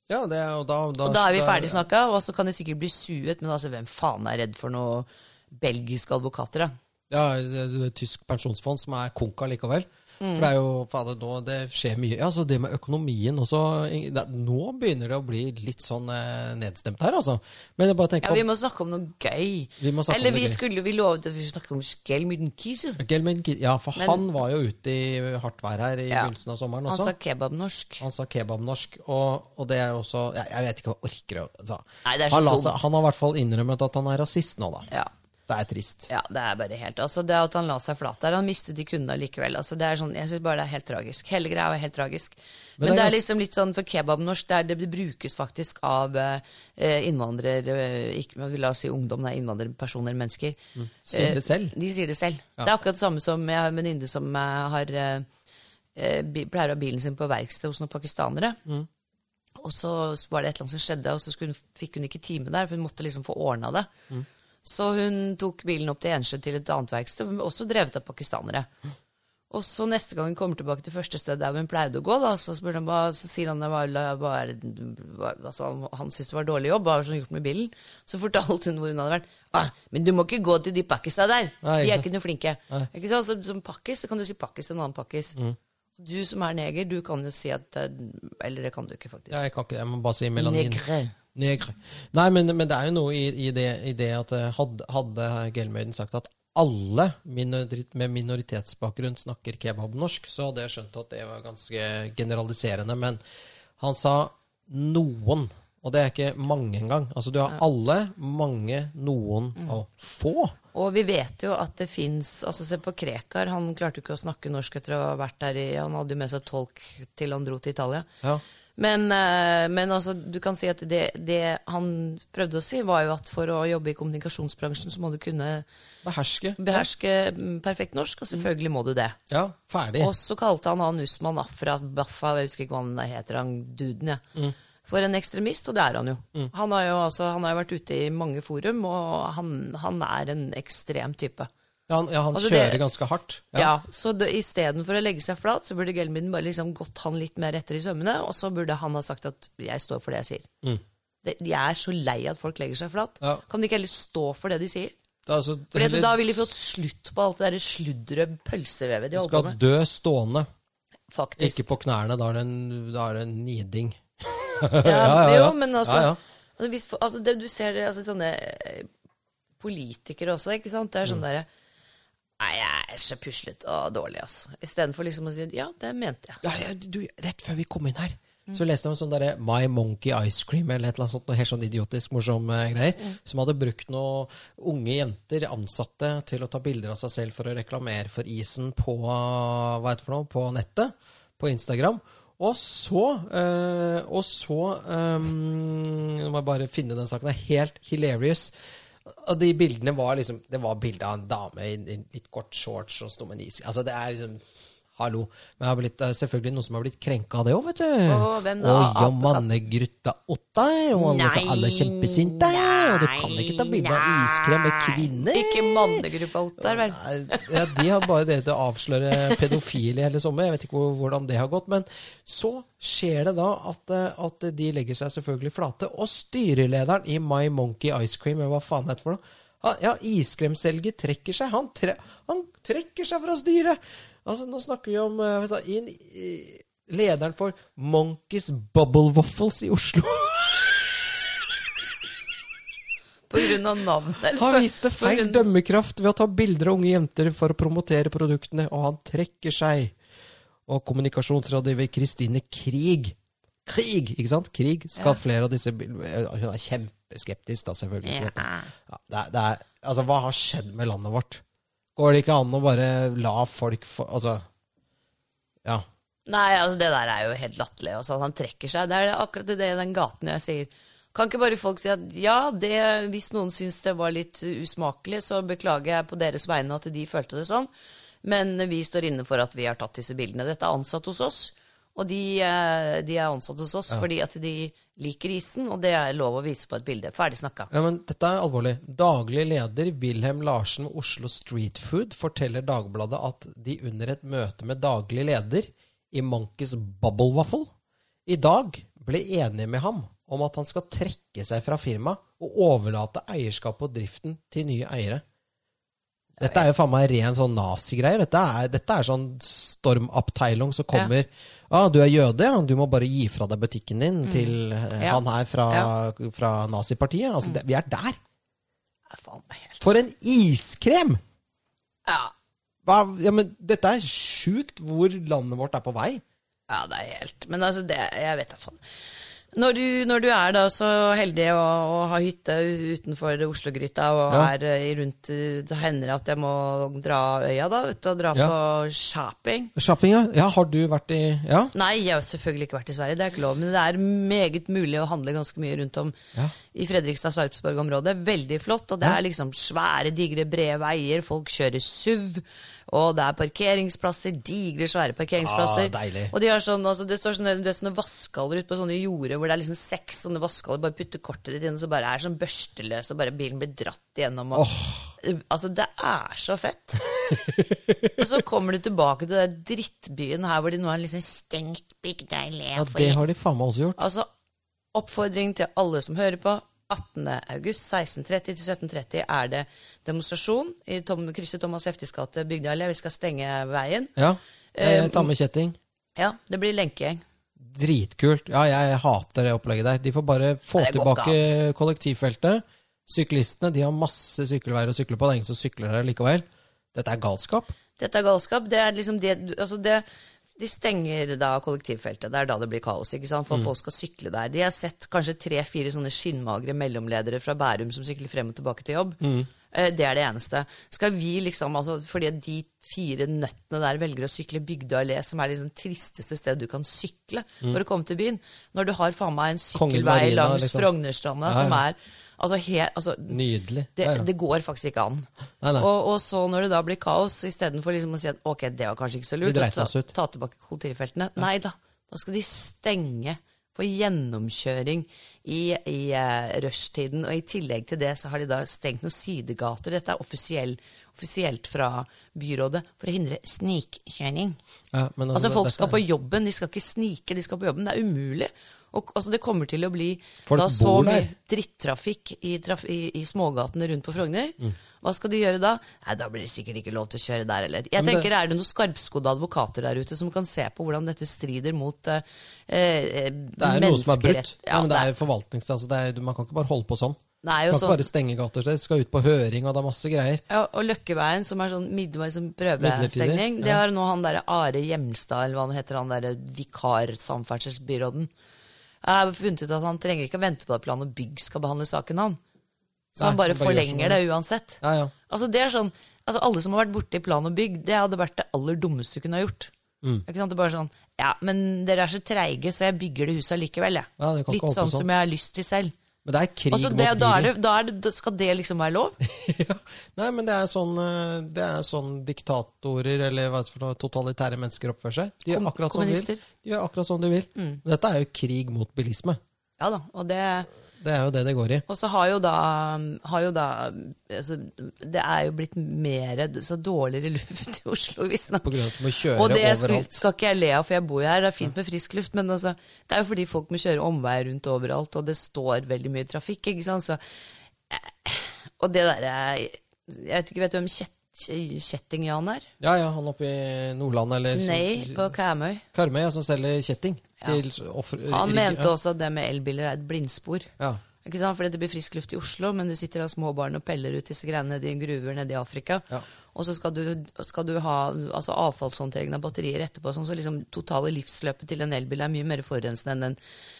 Speaker 1: ja det er, og da,
Speaker 2: Og da er
Speaker 1: Altså,
Speaker 2: vi ferdig snakka, og så kan de sikkert bli suet, men altså, hvem faen er redd for noe belgiske advokater, da?
Speaker 1: Ja, det er et tysk pensjonsfond som er konka likevel.
Speaker 2: Mm.
Speaker 1: For det er jo, fader, nå det skjer mye. Ja, så det med økonomien også Ing- det, Nå begynner det å bli litt sånn eh, nedstemt her, altså. Men jeg bare
Speaker 2: Ja,
Speaker 1: tenker
Speaker 2: vi må snakke om noe gøy.
Speaker 1: Vi må snakke om
Speaker 2: Eller
Speaker 1: noe
Speaker 2: vi
Speaker 1: gøy.
Speaker 2: skulle vi lovet at vi skulle snakke om skelmydenkiser.
Speaker 1: på Gelman Ki- Ja, for
Speaker 2: Men-
Speaker 1: han var jo ute i hardt vær her i
Speaker 2: Ja.
Speaker 1: begynnelsen av sommeren
Speaker 2: Han
Speaker 1: også.
Speaker 2: sa kebabnorsk.
Speaker 1: Han sa kebabnorsk, og, og det er jo også jeg, jeg vet ikke hva jeg orker å altså.
Speaker 2: Nei, det er så
Speaker 1: han, la
Speaker 2: dumt.
Speaker 1: seg, han har i hvert fall innrømmet at han er rasist nå, da.
Speaker 2: Ja.
Speaker 1: Det er trist.
Speaker 2: ja, det er bare helt Altså, det at han la seg flat der, han mistet de kundene likevel. Altså, det er sånn, jeg syns bare det er helt tragisk. Hele greia er helt tragisk. Men, det er liksom litt sånn for kebabnorsk, det, er, det brukes faktisk av eh, innvandrer... eh, Ikke, hva vil la oss si ungdom, nei, innvandrerpersoner, mennesker.
Speaker 1: Mm.
Speaker 2: Eh,
Speaker 1: Sier det selv.
Speaker 2: De sier det selv. Det er akkurat det samme som jeg har en venninne som eh, har, eh, eh, bi- pleier å ha bilen sin på verksted hos noen pakistanere.
Speaker 1: Mm.
Speaker 2: Og så var det et eller annet som skjedde, og så skulle hun, fikk hun ikke time der, for hun måtte liksom få ordna det. Så hun tok bilen opp til Ensjø til et annet verksted, men også drevet av pakistanere. Og så neste gang hun kommer tilbake til første sted der hun pleide å gå, da, så, spør han, hva- så sier han hva, la- hva er det, hva, altså, han- han syntes det var dårlig jobb, hva har hun gjort med bilen? Så fortalte hun hvor hun hadde vært. Ah, men du må ikke gå til de pakkisa der,
Speaker 1: Nei,
Speaker 2: de er
Speaker 1: ikke
Speaker 2: ikke noe flinke. Ikke sant? Så, som pakkis så kan du si pakkis til en annen pakkis.
Speaker 1: Mm.
Speaker 2: Du som er neger, du kan jo si at eh, Eller det kan du ikke, faktisk.
Speaker 1: Ja, jeg kan ikke det. Jeg må bare si melanin.
Speaker 2: Negre.
Speaker 1: Negre. Nei, men, men det er jo noe i, i, det, i det at eh, hadde, hadde Gelmøyden sagt at alle minorit, med minoritetsbakgrunn snakker kebabnorsk, så hadde jeg skjønt at det var ganske generaliserende. Men han sa noen, og det er ikke mange engang. Altså du har alle, mange, noen
Speaker 2: Mm.
Speaker 1: og få.
Speaker 2: Og vi vet jo at det fins altså Se på Krekar, han klarte jo ikke å snakke norsk etter å ha vært der i Han hadde jo med seg tolk til han dro til Italia.
Speaker 1: Ja.
Speaker 2: Men, eh, men altså, du kan si at det, det han prøvde å si, var jo at for å jobbe i kommunikasjonsbransjen, så må du kunne
Speaker 1: Beherske.
Speaker 2: beherske mm, perfekt norsk, og selvfølgelig må du det.
Speaker 1: Ja, ferdig.
Speaker 2: Og så kalte han han Usman Afra Baffa, jeg husker ikke hva han heter, han duden, jeg. For en ekstremist, og det er han jo. Han, har jo altså, han har jo vært ute i mange forum, og han, han er en ekstrem type.
Speaker 1: Ja, han, ja, han
Speaker 2: Altså, det-
Speaker 1: kjører ganske hardt.
Speaker 2: Ja, Så det- istedenfor å legge seg flat, så burde Gelmin bare liksom gått han litt mer etter i sømmene, og så burde han ha sagt at 'jeg står for det jeg sier'. Det, jeg er så lei at folk legger seg flat.
Speaker 1: Mm. Ja.
Speaker 2: Kan de ikke heller stå for det de sier?
Speaker 1: Det er altså-
Speaker 2: Fordi at
Speaker 1: heller-
Speaker 2: Da ville vi fått slutt på alt det der sludderet, pølsevevet de holder på
Speaker 1: Skal
Speaker 2: med.
Speaker 1: dø stående.
Speaker 2: Faktisk.
Speaker 1: Ikke på knærne, da er det en, da er det en niding.
Speaker 2: Ja,
Speaker 1: <laughs> ja, ja.
Speaker 2: Jo, men altså,
Speaker 1: Ja, ja.
Speaker 2: altså, hvis, altså det, Du ser det, altså, sånne eh, politikere også, ikke sant? Det er
Speaker 1: Mm.
Speaker 2: sånn derre Nei, jeg er så puslet og dårlig, altså. Istedenfor liksom å si ja, det mente jeg.
Speaker 1: Ja, ja, du, rett før vi kom inn her, så leste jeg om sånn derre My Monkey Ice Cream, eller et eller annet sånt, noe helt sånn idiotisk morsom eh, greier, som hadde brukt noen unge jenter, ansatte, til å ta bilder av seg selv for å reklamere for isen på, eh, hva heter det for noe, på nettet, på Instagram. Og så, eh, og så eh, Nå må jeg bare finne den saken. Det er helt hilarious. Og de bildene var liksom Det var bilde av en dame i, i litt kort shorts og sto med en is Altså, det er liksom Hallo. Men jeg har blitt, det er selvfølgelig noen som har blitt krenka av det òg, vet du.
Speaker 2: Å, hvem da?
Speaker 1: Og ja, mannegrutta Ottar, og alle, så alle er kjempesinte. Og du kan ikke ta bilde av iskrem med kvinner.
Speaker 2: Ikke mannegruppa Ottar, vel.
Speaker 1: Nei, ja, de har bare det til å avsløre pedofile i hele sommer. Jeg vet ikke hvor- hvordan det har gått. Men så skjer det da at, eh, at de legger seg selvfølgelig flate. Og styrelederen i My Monkey Ice Cream, eller hva faen det heter for noe, han- ja, iskremselger trekker seg. Han, tre, han trekker seg fra styret! Altså, nå snakker vi om eh, vet du, inn, i- lederen for Monkeys Bubble Waffles i Oslo.
Speaker 2: På grunn av navnet. eller?
Speaker 1: Han viste
Speaker 2: På
Speaker 1: feil
Speaker 2: grunn-
Speaker 1: dømmekraft ved å ta bilder av unge jenter for å promotere produktene, og han trekker seg. Og kommunikasjonsrådgiver Kristine Krig Krig, ikke sant? Krig skal flere av disse bil- Hun er kjempeskeptisk, da, selvfølgelig. til dette. Ja, det er, det er, altså, hva har skjedd med landet vårt? Går det ikke an å bare la folk få Altså, ja.
Speaker 2: Nei, altså det der er jo helt latterlig. Altså, han trekker seg. Det er akkurat det i den gaten jeg sier. Kan ikke bare folk si at ja, det, hvis noen syns det var litt usmakelig, så beklager jeg på deres vegne at de følte det sånn, men vi står inne for at vi har tatt disse bildene. Dette er ansatt hos oss, og de, eh, de er ansatt hos oss fordi at de liker isen, og det er lov å vise på et bilde. Ferdig snakka.
Speaker 1: Ja, men Dette er alvorlig. Daglig leder Wilhelm Larsen ved Oslo Street Food forteller Dagbladet at de under et møte med daglig leder i Monkeys Bubble Waffle i dag ble enige med ham om at han skal trekke seg fra firmaet og overlate eierskapet og driften til nye eiere. Dette er jo faen meg ren sånn nazigreier. Dette, er- dette er sånn stormabteilung som kommer ah, 'Du er jøde, ja. Du må bare gi fra deg butikken din til eh,
Speaker 2: Ja.
Speaker 1: han her fra, fra nazipartiet.' Altså, det, vi er der!
Speaker 2: Ja, faen meg helt.
Speaker 1: For en iskrem!
Speaker 2: Ja,
Speaker 1: Hva, ja, men dette er sjukt hvor landet vårt er på vei.
Speaker 2: Ja, det er helt Men altså, det, jeg vet da faen. Når du, når du er da så heldig å, å ha hytte utenfor Oslo-gryta og
Speaker 1: Ja.
Speaker 2: er eh, rundt eh, Så hender det at jeg må dra øya, da, vet du, og dra
Speaker 1: Ja.
Speaker 2: på shopping.
Speaker 1: Shoppinga? Ja, har du vært i Ja?
Speaker 2: Nei, jeg har selvfølgelig ikke vært i Sverige, det er ikke lov. Men det er meget mulig å handle ganske mye rundt om
Speaker 1: Ja.
Speaker 2: i Fredrikstad-Sarpsborg-området. Veldig flott. Og det er liksom svære, digre, brede veier. Folk kjører SUV. Og det er parkeringsplasser. Digre, svære parkeringsplasser.
Speaker 1: Ah, deilig.
Speaker 2: og de har sånn, altså, det står sånne, det er sånne vaskehaller ute på sånne jorder hvor det er liksom seks sånne vaskehaller. Bare putter kortet ditt inn, så bare er det sånn børsteløst, og bare bilen blir dratt igjennom. Og, Altså, det er så fett. <laughs> og så kommer du tilbake til den drittbyen her hvor de nå har liksom stengt Bygdøy
Speaker 1: ja det har de faen meg også gjort.
Speaker 2: Altså, oppfordring til alle som hører på. 18. august 16.30 til 17.30 er det demonstrasjon i Tom, krysset Thomas Heftis gate, Bygdøy allé. Vi skal stenge veien.
Speaker 1: Ja.
Speaker 2: Eh,
Speaker 1: Jeg tar med kjetting.
Speaker 2: Ja, det blir lenkegjeng.
Speaker 1: Dritkult. Ja, jeg hater det opplegget der. De får bare få
Speaker 2: Det går
Speaker 1: tilbake kollektivfeltet. Syklistene de har masse sykkelveier å sykle på. Det er ingen som sykler der likevel. Dette er galskap.
Speaker 2: Dette er galskap. Det er liksom det, altså det de stenger da kollektivfeltet. Det er da det blir kaos. ikke sant?
Speaker 1: Mm.
Speaker 2: For folk skal sykle der. De har sett kanskje tre-fire sånne skinnmagre mellomledere fra Bærum som sykler frem og tilbake til jobb.
Speaker 1: Mm.
Speaker 2: Eh, Det er det eneste. Skal vi liksom, altså, Fordi de fire nøttene der velger å sykle Bygdøy allé, som er liksom tristeste stedet du kan sykle for å komme til byen, når du har faen meg en
Speaker 1: Mm. Kongen
Speaker 2: sykkelvei
Speaker 1: Marina,
Speaker 2: langs
Speaker 1: liksom.
Speaker 2: Frognerstranda
Speaker 1: Ja, ja.
Speaker 2: som er altså, he, altså,
Speaker 1: Nydelig.
Speaker 2: det,
Speaker 1: ja, ja.
Speaker 2: det går faktisk ikke an.
Speaker 1: Nei, nei.
Speaker 2: Og, og så når det da blir kaos, istedenfor liksom å si at ok, det var kanskje ikke så lurt,
Speaker 1: Vi dreit
Speaker 2: og
Speaker 1: oss
Speaker 2: ta,
Speaker 1: ut.
Speaker 2: ta tilbake kollektivfeltene. Nei da, da skal de stenge for gjennomkjøring i, i eh, rushtiden. Og i tillegg til det så har de da stengt noen sidegater. Dette er offisiell, offisielt fra byrådet for å hindre snikkjøring.
Speaker 1: Ja, men
Speaker 2: Altså
Speaker 1: det-
Speaker 2: Folk
Speaker 1: dette
Speaker 2: skal
Speaker 1: er-
Speaker 2: på jobben, de skal ikke snike, de skal på jobben. Det er umulig. Og altså, Det kommer til å bli
Speaker 1: Folk
Speaker 2: da så
Speaker 1: bor
Speaker 2: mye
Speaker 1: der.
Speaker 2: drittrafikk i, traf i, i smågatene rundt på Frogner.
Speaker 1: Mm.
Speaker 2: Hva skal de gjøre da? Nei, Da blir det sikkert ikke lov til å kjøre der heller. Jeg
Speaker 1: men det-
Speaker 2: tenker, Er det noen skarpskodde advokater der ute som kan se på hvordan dette strider mot eh,
Speaker 1: Det
Speaker 2: eh,
Speaker 1: er noe som er brutt.
Speaker 2: menneskerett-
Speaker 1: Ja, men det er forvaltnings... Altså, det er, man kan ikke bare holde på sånn.
Speaker 2: det er
Speaker 1: Man
Speaker 2: jo
Speaker 1: kan ikke
Speaker 2: sånn-
Speaker 1: bare stenge gater. Det skal ut på høring, og det er masse greier.
Speaker 2: Ja, og Løkkeveien, som er sånn midtveis som prøvestengning,
Speaker 1: Midlertidig,
Speaker 2: det
Speaker 1: ja.
Speaker 2: har nå han derre Are Hjemstad, eller hva han heter, han derre vikarsamferdselsbyråden. Jeg har funnet ut at han trenger ikke å vente på at plan og bygg skal behandle saken han. Så
Speaker 1: Nei, han
Speaker 2: han bare
Speaker 1: bare gjør som
Speaker 2: forlenger det
Speaker 1: han
Speaker 2: uansett.
Speaker 1: Ja, ja.
Speaker 2: Altså det er sånn, altså Alle som har vært borte i plan og bygg, det hadde vært det aller dummeste du kunne ha gjort.
Speaker 1: Mm.
Speaker 2: Ikke sant? Det er bare sånn Ja, men dere er så treige, så jeg bygger det huset likevel, jeg.
Speaker 1: Ja, det kan ikke
Speaker 2: Litt
Speaker 1: holde på
Speaker 2: sånn
Speaker 1: sånn.
Speaker 2: som jeg har lyst til selv.
Speaker 1: Men det er krig
Speaker 2: Altså
Speaker 1: mot
Speaker 2: det, da, er
Speaker 1: bilen.
Speaker 2: det, da, er det, da skal det liksom være lov?
Speaker 1: <laughs> ja. Nei, men det er sånn, eh, det er sånn diktatorer eller hva er det for noe, totalitære mennesker oppfører seg. De gjør
Speaker 2: Kom-
Speaker 1: akkurat som de
Speaker 2: kommunister. Mm.
Speaker 1: vil. De gjør akkurat som de vil. Dette er jo krig mot bilisme.
Speaker 2: Ja da. Og det
Speaker 1: Det er jo det det går i.
Speaker 2: Og så har jo da, har jo da altså, Det er jo blitt mer så dårligere luft i Oslo, visstnok.
Speaker 1: På grunn av at du må kjøre
Speaker 2: Og det skal,
Speaker 1: overalt.
Speaker 2: skal ikke jeg le av, for jeg bor jo her. Det er fint med frisk luft, men altså, det er jo fordi folk må kjøre omveier rundt overalt, og det står veldig mye trafikk. ikke sant? Så, eh, og det derre Jeg vet ikke vet du hvem Kjet- Kjetting-Jan er?
Speaker 1: Ja, ja, han oppe i Nordland eller som-
Speaker 2: Nei, på Karmøy.
Speaker 1: Karmøy, ja, som selger kjetting til offer...
Speaker 2: Han
Speaker 1: rike-
Speaker 2: mente
Speaker 1: ja.
Speaker 2: også at det med elbiler er et blindspor.
Speaker 1: Ja.
Speaker 2: Ikke sant? Fordi det blir frisk luft i Oslo, men du sitter av små barn og peller ut disse greiene nede i en gruver nede i Afrika.
Speaker 1: Ja.
Speaker 2: Og så skal du, skal du ha altså avfallshåndtering av batterier etterpå. Sånn, så liksom totale livsløpet til en elbil er mye mer forurensende enn en,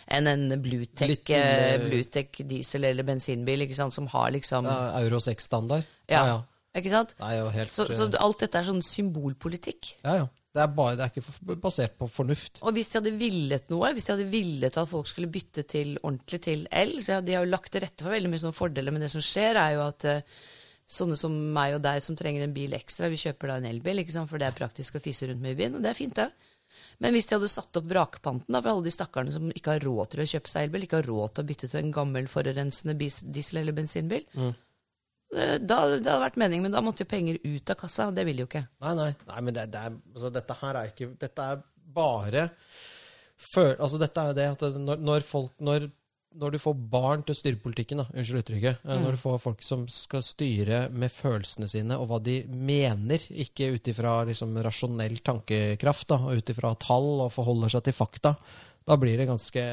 Speaker 2: enn en Bluetech,
Speaker 1: Litt, eh,
Speaker 2: eh, Bluetech diesel- eller bensinbil, ikke sant? som har liksom
Speaker 1: ja, Euro 6-standard.
Speaker 2: Ja, Ikke sant?
Speaker 1: Det er jo helt eh,
Speaker 2: så, så alt dette er sånn symbolpolitikk.
Speaker 1: Ja, ja. Det er, bare, det er ikke for- basert på fornuft.
Speaker 2: Og hvis de hadde villet noe, hvis de hadde villet at folk skulle bytte til ordentlig til el, så de har jo lagt til rette for veldig mye sånne fordeler, men det som skjer er jo at eh, sånne som meg og deg som trenger en bil ekstra, vi kjøper da en elbil, ikke sant? for det er praktisk å fise rundt med i byen, og det er fint det. Men hvis de hadde satt opp vrakpanten da, for alle de stakkarene som ikke har råd til å kjøpe seg elbil, ikke har råd til å bytte til en gammel forurensende bis- diesel- eller bensinbil, eh, da det hadde vært meningen, men da måtte jo penger ut av kassa, og det vil de jo ikke.
Speaker 1: Nei, nei. nei men det, det er, altså, dette her er ikke Dette er bare før, altså, Dette er jo det at det- når, når folk når, når du får barn til å styre politikken, da, unnskyld uttrykket eh, Når du får folk som skal styre med følelsene sine og hva de mener, ikke ut ifra liksom, rasjonell tankekraft da, og ut ifra tall og forholder seg til fakta, da blir det ganske,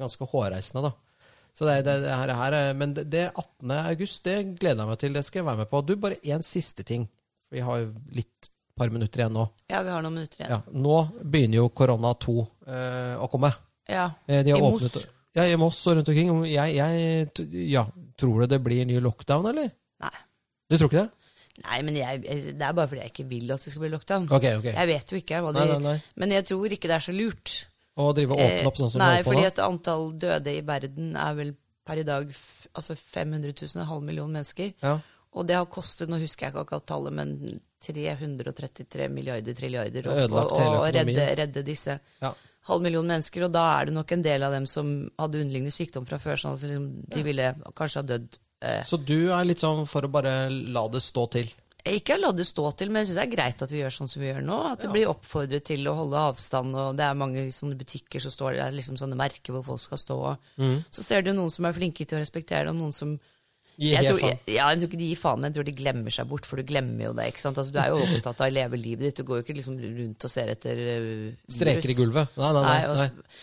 Speaker 1: ganske hårreisende, da. Så det, det, det her, her er- Men det, det 18. august, det gleder jeg meg til. Det skal jeg være med på. Du, bare én siste ting. Vi har jo litt par minutter igjen nå.
Speaker 2: Ja, vi har noen minutter igjen.
Speaker 1: Ja, nå begynner jo korona 2 eh, å komme.
Speaker 2: Ja,
Speaker 1: Eh, de har
Speaker 2: I Moss.
Speaker 1: åpnet, Ja, i Moss og rundt omkring. Jeg, jeg, t- ja, tror du det blir ny lockdown, eller?
Speaker 2: Nei.
Speaker 1: Du tror ikke det?
Speaker 2: Nei, men jeg, jeg- det er bare fordi jeg ikke vil at det skal bli lockdown.
Speaker 1: Ok, ok.
Speaker 2: Jeg vet jo ikke hva de
Speaker 1: Nei, nei, nei.
Speaker 2: Men jeg tror ikke det er så lurt.
Speaker 1: Å drive og åpne opp sånn som
Speaker 2: Eh,
Speaker 1: vi
Speaker 2: nei,
Speaker 1: holder på
Speaker 2: fordi
Speaker 1: nå?
Speaker 2: at antall døde i verden er vel per i dag f altså 500 000, en halv million mennesker.
Speaker 1: Ja.
Speaker 2: Og det har kostet, nå husker jeg ikke akkurat tallet, men 333 milliarder trilliarder å-
Speaker 1: Ødelagt
Speaker 2: å
Speaker 1: hele
Speaker 2: å
Speaker 1: økonomien.
Speaker 2: redde, redde disse
Speaker 1: Ja.
Speaker 2: halv million mennesker. Og da er det nok en del av dem som hadde underliggende sykdom fra før, sånn at liksom, de ville kanskje ha dødd eh,
Speaker 1: Så du er litt sånn for å bare la det stå til?
Speaker 2: Ikke la det stå til, men jeg syns det er greit at vi gjør sånn som vi gjør nå. At det blir oppfordret til å holde avstand, og det er mange sånne butikker som står der, liksom sånne merker hvor folk skal stå. Og.
Speaker 1: Mm.
Speaker 2: Så ser du jo noen som er flinke til å respektere det, og noen som
Speaker 1: Gi
Speaker 2: jeg
Speaker 1: helt
Speaker 2: tror,
Speaker 1: faen.
Speaker 2: jeg, ja, jeg tror ikke de gir faen, men jeg tror de glemmer seg bort, for du glemmer jo det. ikke sant? Altså, Du
Speaker 1: <laughs>
Speaker 2: er jo opptatt av å leve livet ditt, du går jo ikke liksom rundt og ser etter øh,
Speaker 1: Streker i
Speaker 2: virus.
Speaker 1: gulvet? Nei, nei,
Speaker 2: Nei, altså, og
Speaker 1: nei.
Speaker 2: s-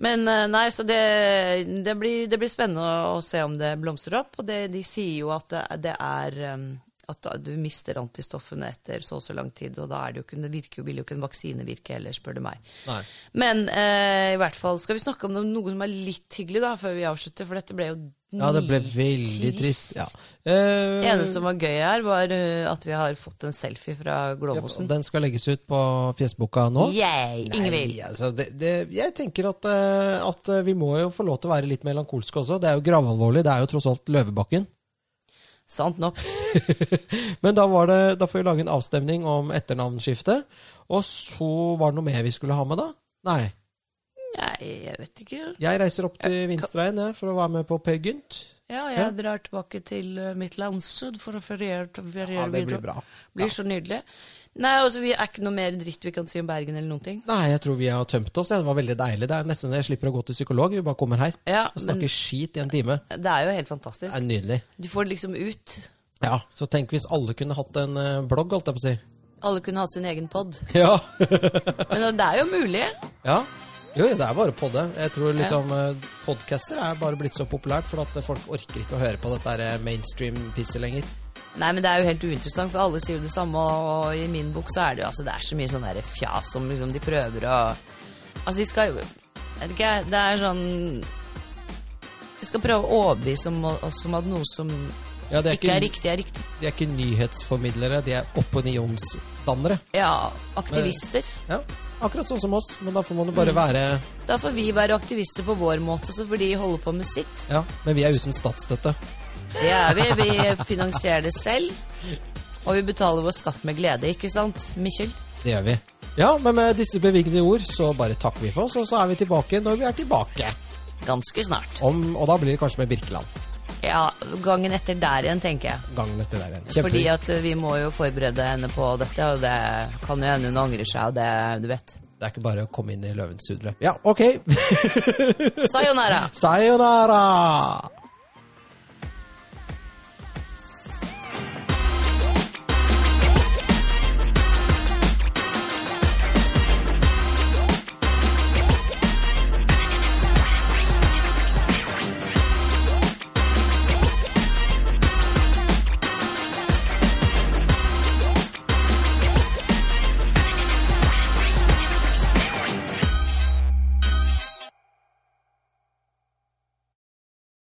Speaker 2: Men eh, nei, så det, det, blir, det blir spennende å, å se om det blomstrer opp. Og det, de sier jo at det, det er em, at da- du mister antistoffene etter så og så lang tid, og da er det jo ikke, det virker, jo- vil jo ikke en vaksine virke heller, spør du meg.
Speaker 1: Nei.
Speaker 2: Men eh, i hvert fall skal vi snakke om noe, noe som er litt hyggelig, da, før vi avslutter, for dette ble jo
Speaker 1: Ja, det ble veldig trist. Ja. Eh,
Speaker 2: Det eneste som var gøy her, var eh, at vi har fått en selfie fra Glåmosen.
Speaker 1: Den skal legges ut på fjesboka nå?
Speaker 2: Yay! Ingvild.
Speaker 1: Nei, altså, det, det, jeg tenker at, eh, at vi må jo få lov til å være litt melankolske også. Det er jo gravalvorlig. Det er jo tross alt Løvebakken.
Speaker 2: Sant nok.
Speaker 1: Men da, var det, da får vi lage en avstemning om etternavnskiftet. Og så var det noe mer vi skulle ha med, da? Nei.
Speaker 2: Nei, jeg vet ikke.
Speaker 1: Jeg reiser opp til Vinstrein jeg, for å være med på Per Gynt.
Speaker 2: Ja, jeg drar tilbake til eh, mitt landsud for å feriere. til- feriere
Speaker 1: Ja, det blir
Speaker 2: videre.
Speaker 1: bra.
Speaker 2: Blir så nydelig. Nei, altså, vi er ikke noe mer dritt vi kan si om Bergen eller noen ting.
Speaker 1: Nei, jeg tror vi har tømt oss. ja. Det var veldig deilig. Det er nesten jeg slipper å gå til psykolog. Vi bare kommer her
Speaker 2: Ja,
Speaker 1: og snakker skit i en time.
Speaker 2: Det er jo helt
Speaker 1: Det
Speaker 2: fantastisk.
Speaker 1: er nydelig.
Speaker 2: Du får det liksom ut.
Speaker 1: Ja, Så tenk hvis alle kunne hatt en eh, blogg, holdt jeg på å si.
Speaker 2: Alle kunne hatt sin egen pod.
Speaker 1: Ja. <laughs>
Speaker 2: Men det er jo mulig.
Speaker 1: ja. Jo, jo, det er bare podde. Jeg tror liksom ja. podcaster er bare blitt så populært, for at folk orker ikke å høre på dette her, eh, mainstream-pisset lenger.
Speaker 2: Nei, men det er jo helt uinteressant, for alle sier jo det samme, og og i min bok så er det jo altså, det er så mye sånn derre fjas som liksom de prøver å Altså, de skal jo Jeg vet ikke, det er sånn De skal prøve å overbevise om- oss om at noe som
Speaker 1: Ja, det er
Speaker 2: ikke
Speaker 1: ikke,
Speaker 2: er riktig, er riktig.
Speaker 1: De er ikke nyhetsformidlere, de er opinionsdannere.
Speaker 2: Ja, aktivister.
Speaker 1: Ja, akkurat sånn som oss, men da får man jo
Speaker 2: Mm.
Speaker 1: bare være
Speaker 2: Da får vi være aktivister på vår måte, så får de holde på med sitt.
Speaker 1: Ja, men vi er uten statsstøtte.
Speaker 2: Det er vi. Vi finansierer det selv. Og vi betaler vår skatt med glede, ikke sant, Mikkjel?
Speaker 1: Det gjør vi. Ja, men med disse bevingede ord så bare takker vi for oss, og så er vi tilbake når vi er tilbake.
Speaker 2: Ganske snart.
Speaker 1: Om, og da blir det kanskje med Birkeland.
Speaker 2: Ja, gangen etter der igjen, tenker jeg.
Speaker 1: Gangen etter der igjen.
Speaker 2: Fordi
Speaker 1: Kjempe.
Speaker 2: at eh, vi må jo forberede henne på dette, og det kan jo hende hun angrer seg, og det du vet.
Speaker 1: Det er ikke bare å komme inn i løvens hudre. Ja, ok.
Speaker 2: Sayonara!
Speaker 1: Sayonara!